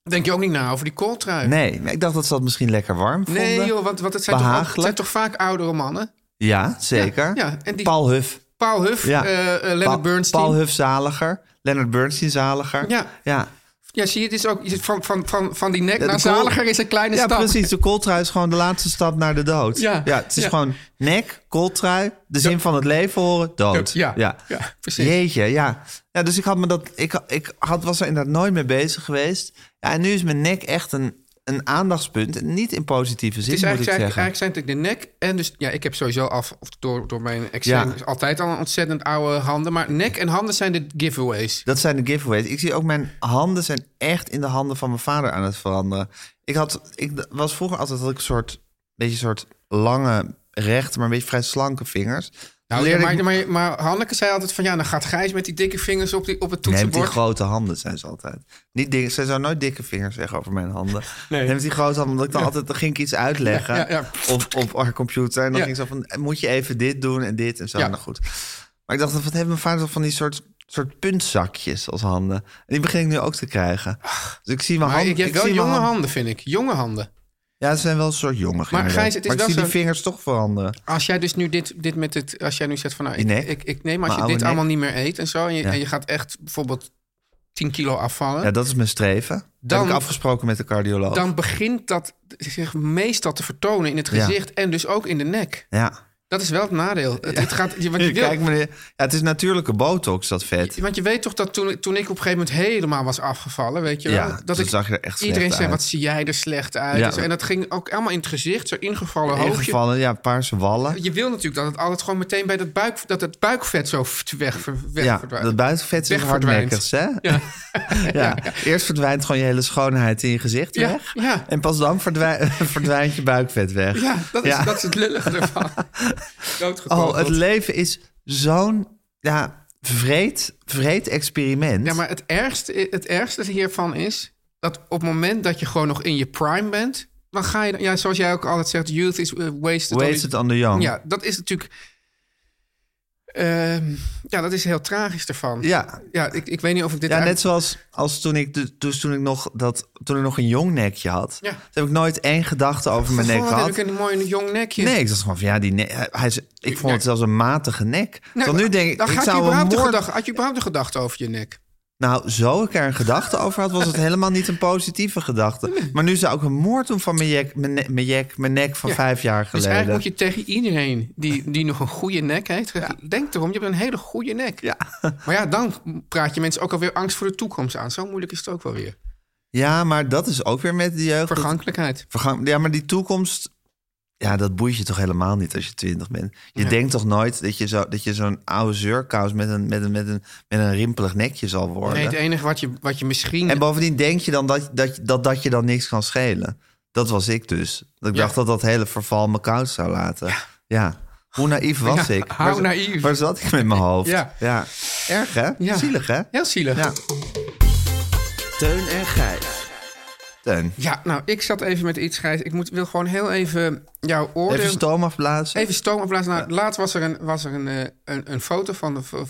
Speaker 3: denk je ook niet na over die kooltrui.
Speaker 4: Nee, maar ik dacht dat ze dat misschien lekker warm vonden.
Speaker 3: Nee, joh, want, want het, zijn toch, ook- het
Speaker 4: Behagelijk.
Speaker 3: zijn toch vaak oudere mannen?
Speaker 4: Ja, zeker.
Speaker 3: Ja, ja, en die-
Speaker 4: Paul Huff.
Speaker 3: Paul Huff,
Speaker 4: Ja.
Speaker 3: eh eh, Leonard
Speaker 4: Pa-
Speaker 3: Bernstein.
Speaker 4: Paul Huff zaliger. Leonard Bernstein zaliger.
Speaker 3: Ja.
Speaker 4: ja.
Speaker 3: Ja, zie je, het is ook je zit van, van, van, van die nek
Speaker 4: Ja,
Speaker 3: naar
Speaker 4: de kool-
Speaker 3: Nou, zaliger is een kleine
Speaker 4: ja
Speaker 3: stap.
Speaker 4: precies. De kooltrui is gewoon de laatste stap naar de dood.
Speaker 3: Ja.
Speaker 4: het is
Speaker 3: Ja.
Speaker 4: gewoon nek, kooltrui, de zin van het leven horen, dood.
Speaker 3: Ja, ja, precies.
Speaker 4: Jeetje, ja. ja. Dus ik, had me dat, ik, ik had, was er inderdaad nooit mee bezig geweest. Ja, en nu is mijn nek echt een, een aandachtspunt. Niet in positieve zin,
Speaker 3: Het is
Speaker 4: moet ik
Speaker 3: eigenlijk,
Speaker 4: zeggen.
Speaker 3: eigenlijk zijn het de nek en dus ja, ik heb sowieso af of door, door mijn examen
Speaker 4: Ja.
Speaker 3: is altijd al een ontzettend oude handen, maar nek en handen zijn de giveaways.
Speaker 4: Dat zijn de giveaways. Ik zie ook mijn handen zijn echt in de handen van mijn vader aan het veranderen. Ik had, ik d- was vroeger altijd had ik een soort, beetje soort lange, rechte, maar een beetje vrij slanke vingers.
Speaker 3: Nou, ja,
Speaker 4: Leerde
Speaker 3: maar,
Speaker 4: ik-
Speaker 3: maar, maar Hanneke zei altijd van ja, dan gaat Gijs met die dikke vingers op, die, op het
Speaker 4: Nee, met die
Speaker 3: toetsenbord.
Speaker 4: grote handen zijn ze altijd. Niet dik, ze zou nooit dikke vingers zeggen over mijn handen. Nee. Met die grote handen, omdat ik dan altijd dan ging ik iets uitleggen
Speaker 3: Ja, ja,
Speaker 4: Op, op haar computer. En dan
Speaker 3: Ja.
Speaker 4: ging ze van, moet je even dit doen en dit en zo.
Speaker 3: Ja.
Speaker 4: Nou goed. Maar ik dacht, wat hebben mijn vader toch van die soort, soort puntzakjes als handen? En die begin ik nu ook te krijgen. Dus ik zie mijn
Speaker 3: Maar
Speaker 4: handen.
Speaker 3: ik heb
Speaker 4: ik
Speaker 3: wel
Speaker 4: zie mijn
Speaker 3: jonge
Speaker 4: hand-
Speaker 3: handen, vind ik. Jonge handen.
Speaker 4: Ja, ze zijn wel een soort jongen. Maar,
Speaker 3: Gijs, het is
Speaker 4: maar ik
Speaker 3: wel
Speaker 4: zie die
Speaker 3: zo-
Speaker 4: vingers toch veranderen.
Speaker 3: Als jij dus nu dit, dit met het, als jij nu zegt van nou,
Speaker 4: Die
Speaker 3: ik,
Speaker 4: nek?
Speaker 3: ik, ik neem, als
Speaker 4: Mijn
Speaker 3: je dit
Speaker 4: oude
Speaker 3: allemaal niet meer eet en zo, en je,
Speaker 4: Ja.
Speaker 3: en je gaat echt bijvoorbeeld 10 kilo afvallen,
Speaker 4: Ja, dat is mijn streven. Dan...
Speaker 3: Dan-
Speaker 4: Heb ik afgesproken met de cardioloog.
Speaker 3: dan begint dat zich meestal te vertonen in het
Speaker 4: Ja.
Speaker 3: gezicht en dus ook in de nek.
Speaker 4: Ja.
Speaker 3: Dat is wel het nadeel. Het, het gaat, je- want, je wil-
Speaker 4: Kijk, meneer. Ja, het is natuurlijke botox, dat vet.
Speaker 3: want je weet toch dat toen, toen ik op een gegeven moment helemaal was afgevallen, weet je
Speaker 4: Ja,
Speaker 3: wel,
Speaker 4: toen
Speaker 3: dat ik
Speaker 4: zag je er echt slecht
Speaker 3: iedereen zei
Speaker 4: uit.
Speaker 3: wat zie jij er slecht uit
Speaker 4: Ja.
Speaker 3: en, zo. En dat ging ook allemaal in het gezicht, zo ingevallen hoofdje.
Speaker 4: Ingevallen, ja, paarse wallen.
Speaker 3: Je wil natuurlijk dat het altijd gewoon meteen bij dat buik, dat het buikvet zo f- weg, ver- weg
Speaker 4: Ja,
Speaker 3: verdwijnt.
Speaker 4: dat buitenvet is
Speaker 3: Weg verdwijnt.
Speaker 4: hardnekkers, hè? Ja. Eerst verdwijnt gewoon je hele schoonheid in je gezicht
Speaker 3: Ja,
Speaker 4: weg.
Speaker 3: ja.
Speaker 4: En pas dan verdwij- verdwijnt je buikvet weg.
Speaker 3: Ja, dat is,
Speaker 4: Ja.
Speaker 3: Dat is het lullige ervan. Doodgekogeld.
Speaker 4: Oh, het leven is zo'n ja, vreed, vreed experiment.
Speaker 3: Ja, maar het ergste, het ergste hiervan is dat op het moment dat je gewoon nog in je prime bent, dan ga je, dan- ja, zoals jij ook altijd zegt, youth is eh, wasted. on-
Speaker 4: Wasted on the young.
Speaker 3: Ja, dat is natuurlijk. ehm, ja, dat is heel tragisch ervan.
Speaker 4: Ja.
Speaker 3: ja ik, ik weet niet of ik dit.
Speaker 4: Ja, net
Speaker 3: uit-
Speaker 4: zoals als toen ik, de- dus toen ik, nog, dat, toen ik nog een jong nekje had.
Speaker 3: Ja.
Speaker 4: Toen heb ik nooit één gedachte over mijn
Speaker 3: Van,
Speaker 4: nek
Speaker 3: wat heb
Speaker 4: gehad.
Speaker 3: ik een mooi jong nekje.
Speaker 4: Nee, ik dacht gewoon van ja, die nek, hij- hij, is- ik vond
Speaker 3: Nee.
Speaker 4: het zelfs een matige nek.
Speaker 3: Nou,
Speaker 4: Want nu denk ik,
Speaker 3: dan
Speaker 4: ik
Speaker 3: had, je
Speaker 4: zou een
Speaker 3: überhaupt de
Speaker 4: moord...
Speaker 3: gedachte, had je überhaupt de gedachte over je nek?
Speaker 4: Nou, zo ik er een gedachte over had, was het helemaal niet een positieve gedachte. Maar nu zou ik een moord doen van mijn jek, mijn, ne- mijn, jek, mijn nek van
Speaker 3: Ja.
Speaker 4: vijf jaar
Speaker 3: Dus
Speaker 4: geleden.
Speaker 3: eigenlijk moet je tegen iedereen die, die nog een goede nek heeft... zeggen, denk erom, je hebt een hele goede nek.
Speaker 4: ja.
Speaker 3: Maar ja, dan praat je mensen ook alweer angst voor de toekomst aan. Zo moeilijk is het ook wel weer.
Speaker 4: ja, maar dat is ook weer met de jeugd. dat-
Speaker 3: Vergankelijkheid.
Speaker 4: Vergang- ja, maar die toekomst, ja, dat boeit je toch helemaal niet als je twintig bent. Je denkt toch nooit dat je, zo, dat je zo'n oude zeurkous met een, met, een, met, een, met een rimpelig nekje zal worden.
Speaker 3: Nee, het enige wat je, wat je misschien...
Speaker 4: En bovendien denk je dan dat, dat, dat, dat je dan niks kan schelen. Dat was ik dus. Dat ik
Speaker 3: Ja.
Speaker 4: dacht dat dat hele verval me koud zou laten. Ja. Hoe naïef was
Speaker 3: Ja,
Speaker 4: ik?
Speaker 3: hou
Speaker 4: Waar-
Speaker 3: naïef.
Speaker 4: Waar zat ik met mijn hoofd?
Speaker 3: Ja.
Speaker 4: Erg, hè?
Speaker 3: Ja.
Speaker 4: Zielig, hè?
Speaker 3: Heel zielig. Ja.
Speaker 4: Ja.
Speaker 5: Teun en Gijs.
Speaker 4: Teun,
Speaker 3: nou, ik zat even met iets, Gijs. Ik moet, wil gewoon heel even jouw oordeel...
Speaker 4: even stoom afblazen.
Speaker 3: Even stoom afblazen. Nou, Laatst was er een, was er een, eh, een, een foto van, de,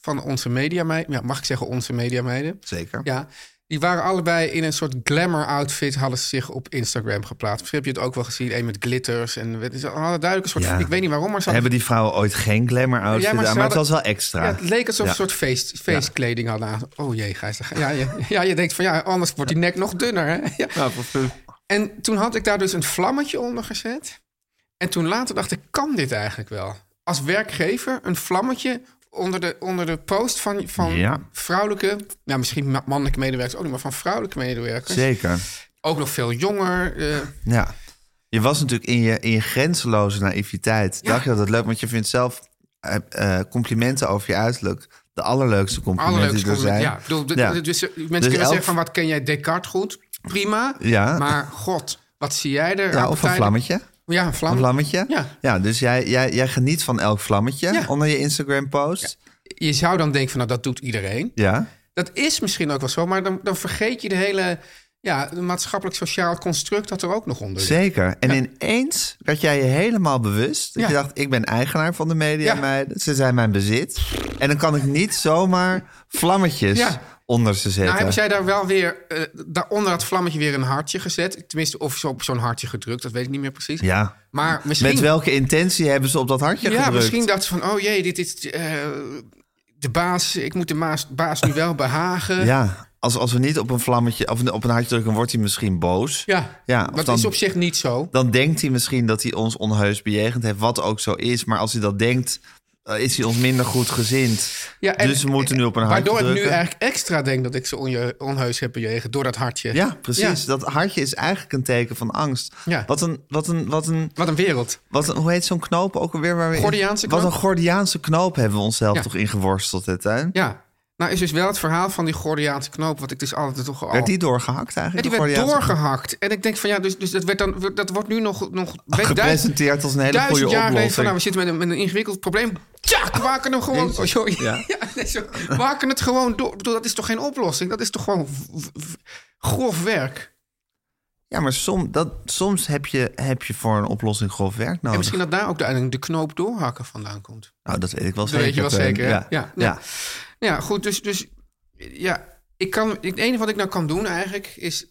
Speaker 3: van onze mediameiden. Ja, mag ik zeggen onze mediameiden?
Speaker 4: Zeker.
Speaker 3: Ja. Die waren allebei in een soort glamour outfit, hadden ze zich op Instagram geplaatst. Misschien heb je het ook wel gezien, één met glitters. En het is al duidelijk een soort,
Speaker 4: Ja.
Speaker 3: ik weet niet waarom, maar ze
Speaker 4: Hebben die vrouwen ooit geen glamour outfit
Speaker 3: Ja, maar ze
Speaker 4: aan? Maar het was
Speaker 3: hadden-
Speaker 4: wel extra.
Speaker 3: Ja, het leek alsof ze
Speaker 4: Ja.
Speaker 3: een soort feest, feestkleding hadden aan. Oh jee, Gijs. Ja, ja, ja, je denkt van ja, anders wordt die nek nog dunner. Hè? Ja.
Speaker 4: Nou, voor-
Speaker 3: En toen had ik daar dus een vlammetje onder gezet. En toen later dacht ik, kan dit eigenlijk wel? Als werkgever een vlammetje onder de, onder de post van, van
Speaker 4: Ja.
Speaker 3: vrouwelijke... Nou, misschien ma- mannelijke medewerkers ook niet, maar van vrouwelijke medewerkers.
Speaker 4: Zeker.
Speaker 3: Ook nog veel jonger. eh,
Speaker 4: Ja. Je was natuurlijk in je, in je grenzeloze naïviteit. Dacht je dat het leuk, want je vindt zelf eh, eh, complimenten over je uiterlijk de allerleukste complimenten
Speaker 3: allerleukste
Speaker 4: die er
Speaker 3: compliment.
Speaker 4: zijn.
Speaker 3: Ja, ik bedoel, de-
Speaker 4: Ja.
Speaker 3: de- Dus eh, mensen
Speaker 4: Dus
Speaker 3: kunnen
Speaker 4: elf-
Speaker 3: zeggen van wat ken jij Descartes goed? Prima.
Speaker 4: Ja.
Speaker 3: Maar god, wat zie jij er?
Speaker 4: Ja, of een
Speaker 3: Appetijden-
Speaker 4: vlammetje.
Speaker 3: Ja, een vlam.
Speaker 4: Een vlammetje.
Speaker 3: Ja.
Speaker 4: dus jij, jij, jij geniet van elk vlammetje
Speaker 3: Ja.
Speaker 4: onder je Instagram-post.
Speaker 3: Je zou dan denken van nou, dat doet iedereen.
Speaker 4: Ja.
Speaker 3: Dat is misschien ook wel zo, maar dan, dan vergeet je de hele ja, maatschappelijk-sociaal construct dat er ook nog onder zit.
Speaker 4: Zeker. En ineens werd jij je helemaal bewust. Dat
Speaker 3: Ja.
Speaker 4: je dacht, ik ben eigenaar van de media.
Speaker 3: Ja.
Speaker 4: meiden. Ze zijn mijn bezit. En dan kan ik niet zomaar vlammetjes
Speaker 3: Ja.
Speaker 4: onder ze zetten.
Speaker 3: Nou, hebben zij daar wel weer, eh, daar onder dat vlammetje weer een hartje gezet? Tenminste, of zo op zo'n hartje gedrukt, dat weet ik niet meer precies.
Speaker 4: Ja.
Speaker 3: Maar misschien,
Speaker 4: Met welke intentie hebben ze op dat hartje
Speaker 3: ja,
Speaker 4: gedrukt?
Speaker 3: misschien dachten ze van, oh jee, dit is eh, de baas, ik moet de maas, baas nu wel behagen.
Speaker 4: Ja, als, als we niet op een vlammetje of op een hartje drukken, wordt hij misschien boos.
Speaker 3: ja.
Speaker 4: Ja, of
Speaker 3: dat
Speaker 4: dan-
Speaker 3: is op zich niet zo.
Speaker 4: Dan denkt hij misschien dat hij ons onheus bejegend heeft, wat ook zo is. Maar als hij dat denkt, eh, is hij ons minder goed gezind.
Speaker 3: Ja, en-
Speaker 4: dus we moeten nu op een hartje
Speaker 3: Waardoor ik nu
Speaker 4: drukken.
Speaker 3: eigenlijk extra denk dat ik ze onje- onheus heb bejegend door dat hartje.
Speaker 4: Ja, precies.
Speaker 3: Ja.
Speaker 4: Dat hartje is eigenlijk een teken van angst.
Speaker 3: Ja.
Speaker 4: Wat, een, wat, een, wat, een,
Speaker 3: Wat een wereld.
Speaker 4: wat een, hoe heet zo'n knoop ook alweer? Waar we in-
Speaker 3: Gordiaanse
Speaker 4: Wat
Speaker 3: knoop?
Speaker 4: een Gordiaanse knoop hebben we onszelf
Speaker 3: Ja.
Speaker 4: toch ingeworsteld, hè, Tuin?
Speaker 3: Ja. Nou is dus wel het verhaal van die Gordiaanse knoop, wat ik dus altijd toch al...
Speaker 4: Werd die doorgehakt eigenlijk?
Speaker 3: Ja, die
Speaker 4: de
Speaker 3: werd
Speaker 4: Gordiaanse knoop?
Speaker 3: doorgehakt. En ik denk van ja, dus, dus dat, werd dan, dat wordt nu nog... nog
Speaker 4: Gepresenteerd als een hele
Speaker 3: duizend
Speaker 4: goede
Speaker 3: jaar geleden
Speaker 4: oplossing.
Speaker 3: Van, nou, we zitten met een, met een ingewikkeld probleem. Tja, we maken hem gewoon...
Speaker 4: Jezus.
Speaker 3: Oh, sorry.
Speaker 4: Ja.
Speaker 3: Ja. nee, sorry. We haken het gewoon door. Ik bedoel, dat is toch geen oplossing? Dat is toch gewoon v- v- grof werk?
Speaker 4: Ja, maar som, dat, soms heb je, heb je voor een oplossing grof werk
Speaker 3: En
Speaker 4: nodig.
Speaker 3: misschien dat daar ook de, de knoop doorhakken vandaan komt.
Speaker 4: Nou, dat weet ik wel
Speaker 3: Dat
Speaker 4: zeker.
Speaker 3: weet je wel
Speaker 4: Teun.
Speaker 3: zeker, hè?
Speaker 4: Ja. Ja.
Speaker 3: Ja. Ja, goed. Dus, dus ja, ik kan, het enige wat ik nou kan doen eigenlijk is...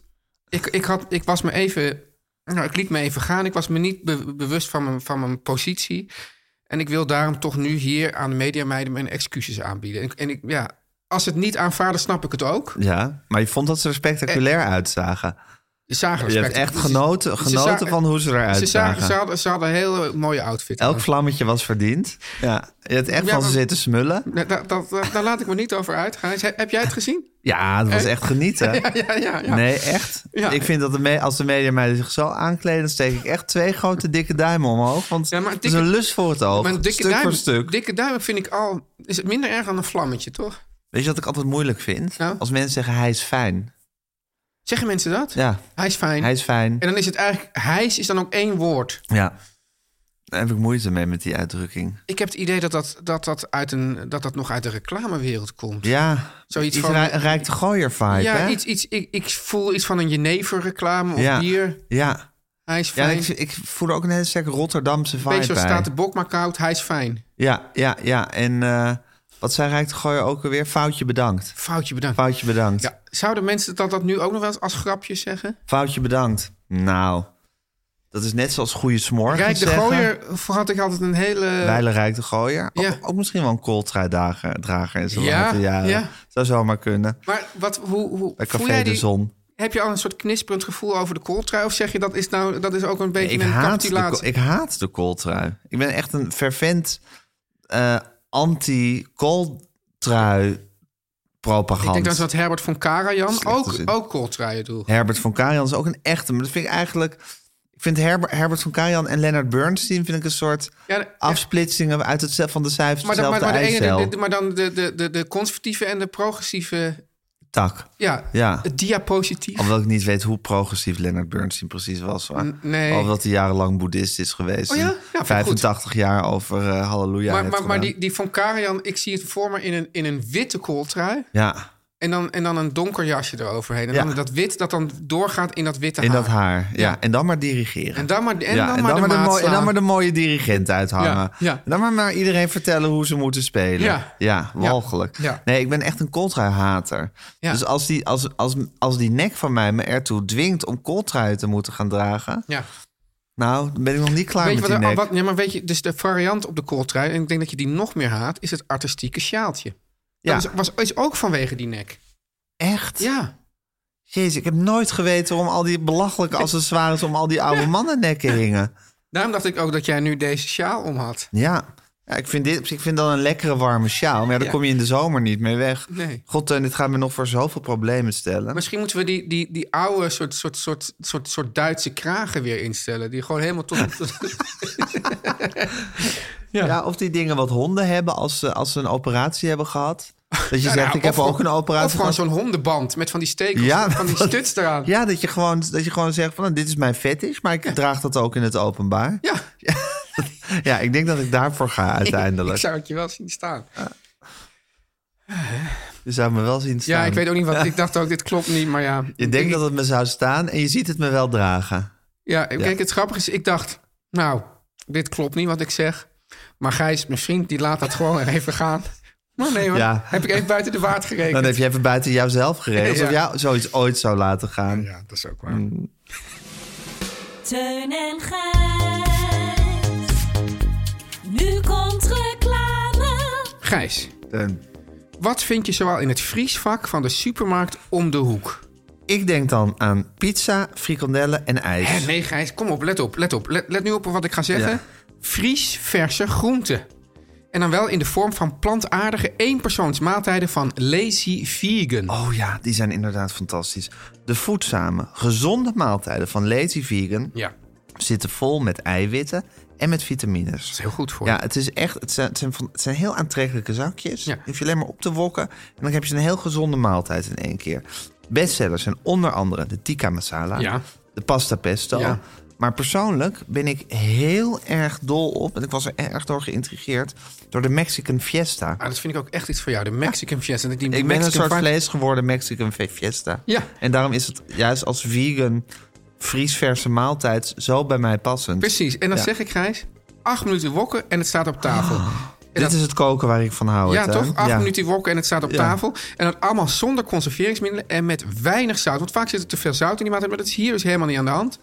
Speaker 3: Ik, ik, had, ik was me even... Nou, ik liet me even gaan. Ik was me niet be- bewust van mijn, van mijn positie. En ik wil daarom toch nu hier aan de mediameiden mijn excuses aanbieden. En, ik- en ik, ja, als ze het niet aanvaarden, snap ik het ook.
Speaker 4: Ja, maar je vond dat ze er spectaculair uitzagen.
Speaker 3: Ze zagen
Speaker 4: Je hebt
Speaker 3: respect.
Speaker 4: echt
Speaker 3: Ze-
Speaker 4: genoten,
Speaker 3: Eh, ze
Speaker 4: genoten
Speaker 3: zagen-
Speaker 4: van hoe ze
Speaker 3: Ze,
Speaker 4: eruit
Speaker 3: zagen, ze,
Speaker 4: zagen.
Speaker 3: hadden, ze hadden een hele mooie outfit.
Speaker 4: Elk
Speaker 3: aan.
Speaker 4: vlammetje was verdiend. Ja, je hebt echt
Speaker 3: Ja,
Speaker 4: van ze
Speaker 3: maar-
Speaker 4: zitten smullen.
Speaker 3: Nee, daar, daar- nou, daar- daar laat ik me niet over uitgaan. Is- Heb jij het gezien?
Speaker 4: Ja, dat was echt genieten.
Speaker 3: Eh? Ja, ja, ja. ja.
Speaker 4: Nee, echt.
Speaker 3: Ja.
Speaker 4: Ik vind dat de me- als de media mij zich zo aankleden, dan steek ik echt twee grote dikke duimen omhoog. Want
Speaker 3: Ja, maar
Speaker 4: het
Speaker 3: dikke-
Speaker 4: is een lust voor het oog.
Speaker 3: Maar een dikke
Speaker 4: stuk
Speaker 3: duim,
Speaker 4: voor stuk.
Speaker 3: Dikke duim vind ik al... Is het minder erg dan een vlammetje, toch?
Speaker 4: Weet je wat ik altijd moeilijk vind?
Speaker 3: Nou?
Speaker 4: Als mensen zeggen hij is fijn.
Speaker 3: Zeggen mensen dat?
Speaker 4: Ja,
Speaker 3: Hij is fijn.
Speaker 4: hij is fijn.
Speaker 3: En dan is het eigenlijk... Hijs is dan ook één woord.
Speaker 4: Ja. Daar heb ik moeite mee met die uitdrukking.
Speaker 3: Ik heb het idee dat dat, dat, dat, uit een, dat, dat nog uit de reclamewereld komt.
Speaker 4: Ja,
Speaker 3: Zoiets
Speaker 4: iets
Speaker 3: van-
Speaker 4: rij- een rijkte gooier vibe,
Speaker 3: ja
Speaker 4: hè?
Speaker 3: iets, iets, ik, ik voel iets van een jeneverreclame of
Speaker 4: ja.
Speaker 3: bier.
Speaker 4: Ja,
Speaker 3: Hij is
Speaker 4: ja
Speaker 3: fijn.
Speaker 4: ik, ik voel er ook een hele sterke Rotterdamse vibe
Speaker 3: Weet je,
Speaker 4: bij.
Speaker 3: zo staat de bok maar koud. Hij is fijn.
Speaker 4: Ja, ja, ja. En eh, wat zei rijkte gooier ook alweer? Foutje bedankt.
Speaker 3: Foutje bedankt.
Speaker 4: Foutje bedankt.
Speaker 3: Ja, zouden mensen dat, dat nu ook nog wel eens als grapje zeggen?
Speaker 4: Foutje bedankt. Nou, dat is net zoals goede smorgen
Speaker 3: Rijk de
Speaker 4: zeggen.
Speaker 3: Gooier had ik altijd een hele...
Speaker 4: Wijlen Rijk de gooier. Ook-
Speaker 3: Ja.
Speaker 4: Ook, misschien wel een kooltruidrager drager in zijn
Speaker 3: Ja,
Speaker 4: later jaren.
Speaker 3: ja.
Speaker 4: Zou zomaar kunnen.
Speaker 3: Maar wat, hoe, hoe,
Speaker 4: Bij
Speaker 3: voel
Speaker 4: Café
Speaker 3: jij
Speaker 4: de
Speaker 3: die,
Speaker 4: Zon.
Speaker 3: Heb je al een soort knisperend gevoel over de kooltrui? Of zeg je dat is, nou, dat is ook een beetje
Speaker 4: ik,
Speaker 3: een
Speaker 4: haat de, ko-
Speaker 3: capitulatie?
Speaker 4: ik haat de kooltrui. Ik ben echt een fervent eh, anti-kooltrui
Speaker 3: Ik denk dat
Speaker 4: propagand.
Speaker 3: is wat Herbert van Karajan ook,
Speaker 4: zin.
Speaker 3: ook kooltruien doet.
Speaker 4: Herbert van Karajan is ook een echte. Maar dat vind ik eigenlijk... Ik vind Herber- Herbert van Karajan en Leonard Bernstein vind ik een soort
Speaker 3: Ja, de-
Speaker 4: afsplitsingen uit het, van de cijfers
Speaker 3: maar, dan, maar,
Speaker 4: hetzelfde
Speaker 3: maar, de
Speaker 4: eicel.
Speaker 3: ene, de- de- maar dan de, de, de, de conservatieve en de progressieve...
Speaker 4: Tak.
Speaker 3: Ja,
Speaker 4: Ja.
Speaker 3: het diapositief.
Speaker 4: Alhoewel ik niet weet hoe progressief Leonard Bernstein precies was. Hoor.
Speaker 3: N- nee.
Speaker 4: Al dat hij jarenlang boeddhist is geweest.
Speaker 3: Oh ja?
Speaker 4: en
Speaker 3: Ja, vind ik
Speaker 4: 85 jaar over eh, halleluja
Speaker 3: maar
Speaker 4: heeft
Speaker 3: maar, maar
Speaker 4: gedaan.
Speaker 3: die, die van Karajan, ik zie het voor me in een, in een witte kooltrui.
Speaker 4: Ja,
Speaker 3: En dan, en dan een donker jasje eroverheen. En
Speaker 4: Ja.
Speaker 3: dan dat wit dat dan doorgaat in dat witte
Speaker 4: In
Speaker 3: haar.
Speaker 4: dat haar. Ja. En dan maar dirigeren.
Speaker 3: En dan maar, en
Speaker 4: ja,
Speaker 3: dan
Speaker 4: en,
Speaker 3: maar
Speaker 4: dan
Speaker 3: de
Speaker 4: maar de
Speaker 3: maat
Speaker 4: mooie, en dan
Speaker 3: slaan.
Speaker 4: maar de mooie dirigent uithangen.
Speaker 3: Ja, ja.
Speaker 4: En dan maar, maar iedereen vertellen hoe ze moeten spelen.
Speaker 3: Ja.
Speaker 4: walgelijk.
Speaker 3: Ja.
Speaker 4: Nee, ik ben echt een Coltrui-hater.
Speaker 3: Ja.
Speaker 4: Dus als die, als, als, als die nek van mij me ertoe dwingt om Coltrui te moeten gaan dragen...
Speaker 3: Ja.
Speaker 4: nou, dan ben ik nog niet klaar
Speaker 3: Weet je
Speaker 4: met
Speaker 3: wat,
Speaker 4: die
Speaker 3: er-
Speaker 4: nek.
Speaker 3: wat, ja, maar weet je, dus de variant op de kooltrui, en ik denk dat je die nog meer haat, is het artistieke sjaaltje.
Speaker 4: Ja.
Speaker 3: Dat is, was, is ook vanwege die nek.
Speaker 4: Echt?
Speaker 3: Ja.
Speaker 4: Jezus, ik heb nooit geweten om al die belachelijke accessoires... om al die oude mannennekken hingen.
Speaker 3: Daarom dacht ik ook dat jij nu deze sjaal om had.
Speaker 4: Ja. Ja, ik vind, dit, ik vind dan een lekkere warme sjaal. Maar ja, daar
Speaker 3: Ja.
Speaker 4: kom je in de zomer niet mee weg.
Speaker 3: Nee.
Speaker 4: God, Teun, dit gaat me nog voor zoveel problemen stellen.
Speaker 3: Misschien moeten we die, die, die oude soort, soort, soort, soort, soort Duitse kragen weer instellen. Die gewoon helemaal tot... tot-
Speaker 4: Ja. of die dingen wat honden hebben als ze, als ze een operatie hebben gehad. Dat je
Speaker 3: Ja,
Speaker 4: zegt,
Speaker 3: nou,
Speaker 4: ik heb
Speaker 3: of
Speaker 4: ook een
Speaker 3: gewoon-
Speaker 4: operatie
Speaker 3: Of gewoon
Speaker 4: gehad.
Speaker 3: zo'n hondenband met van die stekels,
Speaker 4: Ja,
Speaker 3: van die
Speaker 4: wat-
Speaker 3: stuts eraan.
Speaker 4: Ja, dat je gewoon, dat je gewoon zegt, van, nou, dit is mijn fetish, maar ik draag dat ook in het openbaar.
Speaker 3: Ja.
Speaker 4: Ja, ik denk dat ik daarvoor ga uiteindelijk.
Speaker 3: Ik zou het je wel zien staan.
Speaker 4: Je zou me wel zien staan.
Speaker 3: Ja, ik weet ook niet wat. Ik dacht ook, dit klopt niet, maar ja.
Speaker 4: Je denkt
Speaker 3: Ik-
Speaker 4: dat het me zou staan en je ziet het me wel dragen.
Speaker 3: Ja, kijk, het grappige is, ik dacht, nou, dit klopt niet wat ik zeg. Maar Gijs, mijn vriend, die laat dat gewoon weer even gaan. Maar nee hoor,
Speaker 4: Ja.
Speaker 3: heb ik even buiten de waard gerekend.
Speaker 4: Dan heb je even buiten jouzelf geregeld
Speaker 3: Ja.
Speaker 4: of jou zoiets ooit zou laten gaan.
Speaker 3: Ja, dat is ook waar.
Speaker 4: Mm.
Speaker 7: Teun en Gijs. Nu komt reclame.
Speaker 3: Gijs,
Speaker 4: Teun,
Speaker 3: wat vind je zowel in het vriesvak van de supermarkt om de hoek?
Speaker 4: Ik denk dan aan pizza, frikandellen en ijs.
Speaker 3: Hè, nee Gijs, kom op, let op, let op. Let, let nu op wat ik ga zeggen.
Speaker 4: Ja.
Speaker 3: Vries verse groenten. En dan wel in de vorm van plantaardige eenpersoonsmaaltijden van Lazy Vegan.
Speaker 4: Oh ja, die zijn inderdaad fantastisch. De voedzame, gezonde maaltijden van Lazy Vegan
Speaker 3: Ja, dat
Speaker 4: zitten vol met eiwitten en met vitamines.
Speaker 3: is heel goed voor
Speaker 4: Ja,
Speaker 3: je.
Speaker 4: het, is echt, het, zijn, het, zijn van- het zijn heel aantrekkelijke zakjes.
Speaker 3: Ja.
Speaker 4: Die hoef je alleen maar op te wokken. En dan heb je een heel gezonde maaltijd in één keer. Bestsellers zijn onder andere de tikka masala,
Speaker 3: Ja.
Speaker 4: de pasta pesto.
Speaker 3: Ja.
Speaker 4: Maar persoonlijk ben ik heel erg dol op... en ik was er erg door geïntrigeerd... door de Mexican Fiesta.
Speaker 3: Ah, dat vind ik ook echt iets voor jou, de Mexican Fiesta. Die
Speaker 4: Ik ben
Speaker 3: Mexican
Speaker 4: een soort
Speaker 3: vibe-
Speaker 4: vlees geworden Mexican fe- fiesta.
Speaker 3: Ja.
Speaker 4: En daarom is het juist als vegan vriesverse maaltijd zo bij mij passend.
Speaker 3: Precies. En dan
Speaker 4: Ja.
Speaker 3: zeg ik, Gijs, acht minuten wokken en het staat op tafel. En
Speaker 4: Dit
Speaker 3: dat-
Speaker 4: is het koken waar ik van hou.
Speaker 3: ja,
Speaker 4: het, hè?
Speaker 3: toch? Acht
Speaker 4: Ja.
Speaker 3: minuten wokken en het staat op
Speaker 4: Ja.
Speaker 3: tafel. En dat allemaal zonder conserveringsmiddelen en met weinig zout. Want vaak zit er te veel zout in die maaltijd, maar dat is hier dus helemaal niet aan de hand.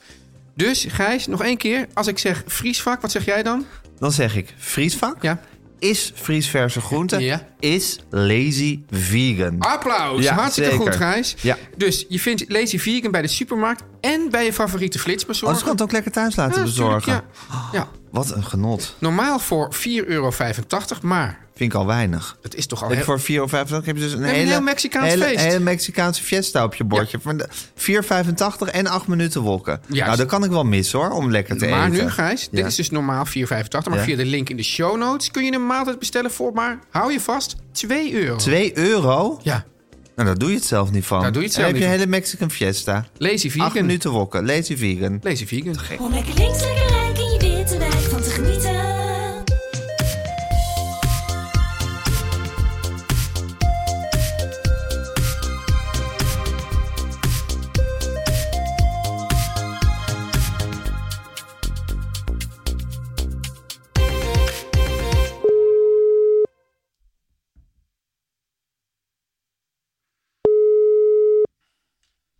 Speaker 3: Dus, Gijs, nog één keer. Als ik zeg vriesvak, wat zeg jij dan?
Speaker 4: Dan zeg ik vriesvak
Speaker 3: Ja.
Speaker 4: is vriesverse groente
Speaker 3: Ja. Ah,
Speaker 4: is lazy vegan.
Speaker 3: Applaus.
Speaker 4: Ja,
Speaker 3: Hartstikke
Speaker 4: zeker.
Speaker 3: goed, Gijs.
Speaker 4: Ja.
Speaker 3: Dus je vindt Lazy Vegan bij de supermarkt en bij je favoriete
Speaker 4: Oh, dus
Speaker 3: flitsbezorger.
Speaker 4: ik kan het ook lekker thuis laten
Speaker 3: Ja,
Speaker 4: bezorgen.
Speaker 3: natuurlijk, ja. Ja.
Speaker 4: Wat een genot.
Speaker 3: Normaal voor 4,85 euro, maar
Speaker 4: Vind ik al weinig.
Speaker 3: dat is toch al
Speaker 4: En
Speaker 3: heel...
Speaker 4: voor 4 of 5 heb je dus een
Speaker 3: een
Speaker 4: hele,
Speaker 3: heel Mexicaans
Speaker 4: hele,
Speaker 3: feest.
Speaker 4: hele Mexicaanse fiesta op je bordje. Van de 4,85 en 8 minuten wokken.
Speaker 3: Juist.
Speaker 4: Nou, dat kan ik wel missen hoor, om lekker te
Speaker 3: maar
Speaker 4: eten.
Speaker 3: nu, Gijs, dit
Speaker 4: Ja.
Speaker 3: is dus normaal 4,85. Maar
Speaker 4: Ja.
Speaker 3: via de link in de show notes kun je een maaltijd bestellen voor maar, hou je vast, 2 euro.
Speaker 4: 2 euro?
Speaker 3: Ja,
Speaker 4: Nou, daar doe je het zelf niet van.
Speaker 3: Daar doe je het zelf
Speaker 4: En dan
Speaker 3: niet
Speaker 4: heb
Speaker 3: van.
Speaker 4: je een hele Mexican fiesta.
Speaker 3: lazy
Speaker 4: 8
Speaker 3: vegan.
Speaker 4: minuten wokken, lazy vegan.
Speaker 3: Lazy vegan.
Speaker 7: Om lekker links, lekker rijk in je witte wijk van te genieten.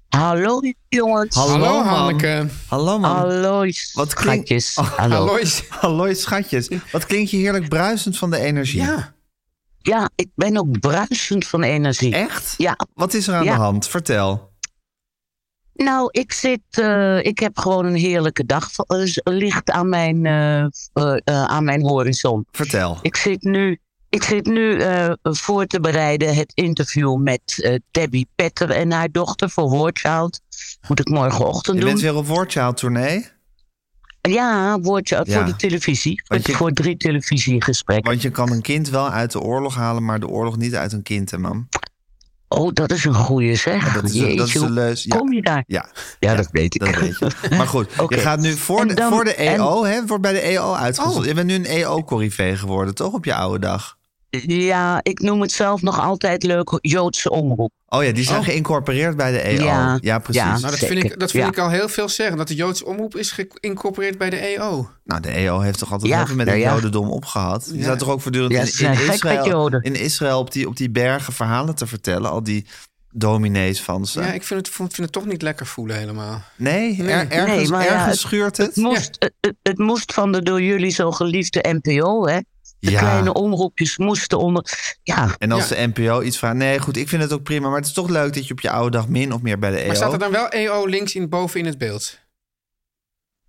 Speaker 8: Hallo jongens.
Speaker 3: Hallo,
Speaker 4: mam.
Speaker 3: Hanneke.
Speaker 4: Hallo man.
Speaker 8: Hallo
Speaker 4: Wat klink-
Speaker 8: schatjes.
Speaker 4: Oh,
Speaker 8: Hallo.
Speaker 3: Alois.
Speaker 4: Hallo schatjes. Wat klink je heerlijk bruisend van de energie.
Speaker 3: Ja,
Speaker 8: Ja, ik ben ook bruisend van energie.
Speaker 4: Echt?
Speaker 8: Ja,
Speaker 4: Wat is er aan
Speaker 8: Ja.
Speaker 4: de hand? Vertel.
Speaker 8: nou, ik zit. eh, ik heb gewoon een heerlijke dag eh, licht aan mijn, eh, eh, eh, aan mijn horizon.
Speaker 4: Vertel.
Speaker 8: Ik zit nu, ik zit nu eh, voor te bereiden het interview met eh, Debbie Petter en haar dochter voor Hoorchild. Moet ik morgenochtend
Speaker 4: Je
Speaker 8: doen.
Speaker 4: bent weer op Wordchild tournee.
Speaker 8: Ja, woordje
Speaker 4: Ja.
Speaker 8: voor de televisie.
Speaker 4: Want je-
Speaker 8: Voor drie televisiegesprekken.
Speaker 4: Want je kan een kind wel uit de oorlog halen, maar de oorlog niet uit een kind, hè, mam?
Speaker 8: Oh, dat is een goeie zeg.
Speaker 4: Dat is,
Speaker 8: Jeetje,
Speaker 4: dat is de
Speaker 8: hoe
Speaker 4: leus. Ja.
Speaker 8: kom je daar?
Speaker 4: Ja.
Speaker 8: Ja, dat weet ik.
Speaker 4: Dat weet je. Maar goed,
Speaker 8: Oké.
Speaker 4: je gaat nu voor
Speaker 8: En
Speaker 4: de,
Speaker 8: dan-
Speaker 4: voor de E
Speaker 8: en- Oh.
Speaker 4: EO, hè? Wordt bij de EO uitgezonden. Je bent nu een EO-corrivé geworden, toch? Op je oude dag.
Speaker 8: ja, ik noem het zelf nog altijd leuk Joodse omroep.
Speaker 4: Oh ja, die zijn geïncorporeerd bij de EO. Ja,
Speaker 8: Ja,
Speaker 4: precies.
Speaker 8: ja.
Speaker 4: Nou,
Speaker 3: Nou,
Speaker 4: dat-
Speaker 3: dat vind,
Speaker 8: Zeker,
Speaker 3: ik, dat vind
Speaker 8: ja.
Speaker 3: ik al heel veel zeggen. Dat de Joodse omroep is geïncorporeerd bij de E EO.
Speaker 4: nou, de EO heeft toch altijd
Speaker 8: Ja,
Speaker 4: heel veel met
Speaker 8: nou
Speaker 4: het
Speaker 8: ja.
Speaker 4: jodendom opgehad. Die
Speaker 3: Ja.
Speaker 4: zijn toch ook voortdurend
Speaker 8: Ja,
Speaker 4: in,
Speaker 8: ze
Speaker 4: in
Speaker 8: zijn gek met
Speaker 4: Israël,
Speaker 8: Joden.
Speaker 4: in Israël op, die, op die bergen verhalen te vertellen. Al die dominees van ze.
Speaker 3: Ja, ik vind het, vind het toch niet lekker voelen helemaal.
Speaker 4: nee, er-
Speaker 3: Nee.
Speaker 4: ergens,
Speaker 8: Nee, maar ja,
Speaker 4: ergens
Speaker 8: het-
Speaker 4: schuurt het.
Speaker 8: Het moest, het, het- het moest van de door jullie zo geliefde NPO, hè? De
Speaker 4: Ja.
Speaker 8: kleine omroepjes moesten onder. Ja,
Speaker 4: En als
Speaker 3: Ja.
Speaker 4: de NPO iets vraagt. Nee, goed, ik vind het ook prima. Maar het is toch leuk dat je op je oude dag min of meer bij de E
Speaker 8: E
Speaker 4: EO...
Speaker 3: Maar staat er dan wel EO links in, boven in het beeld?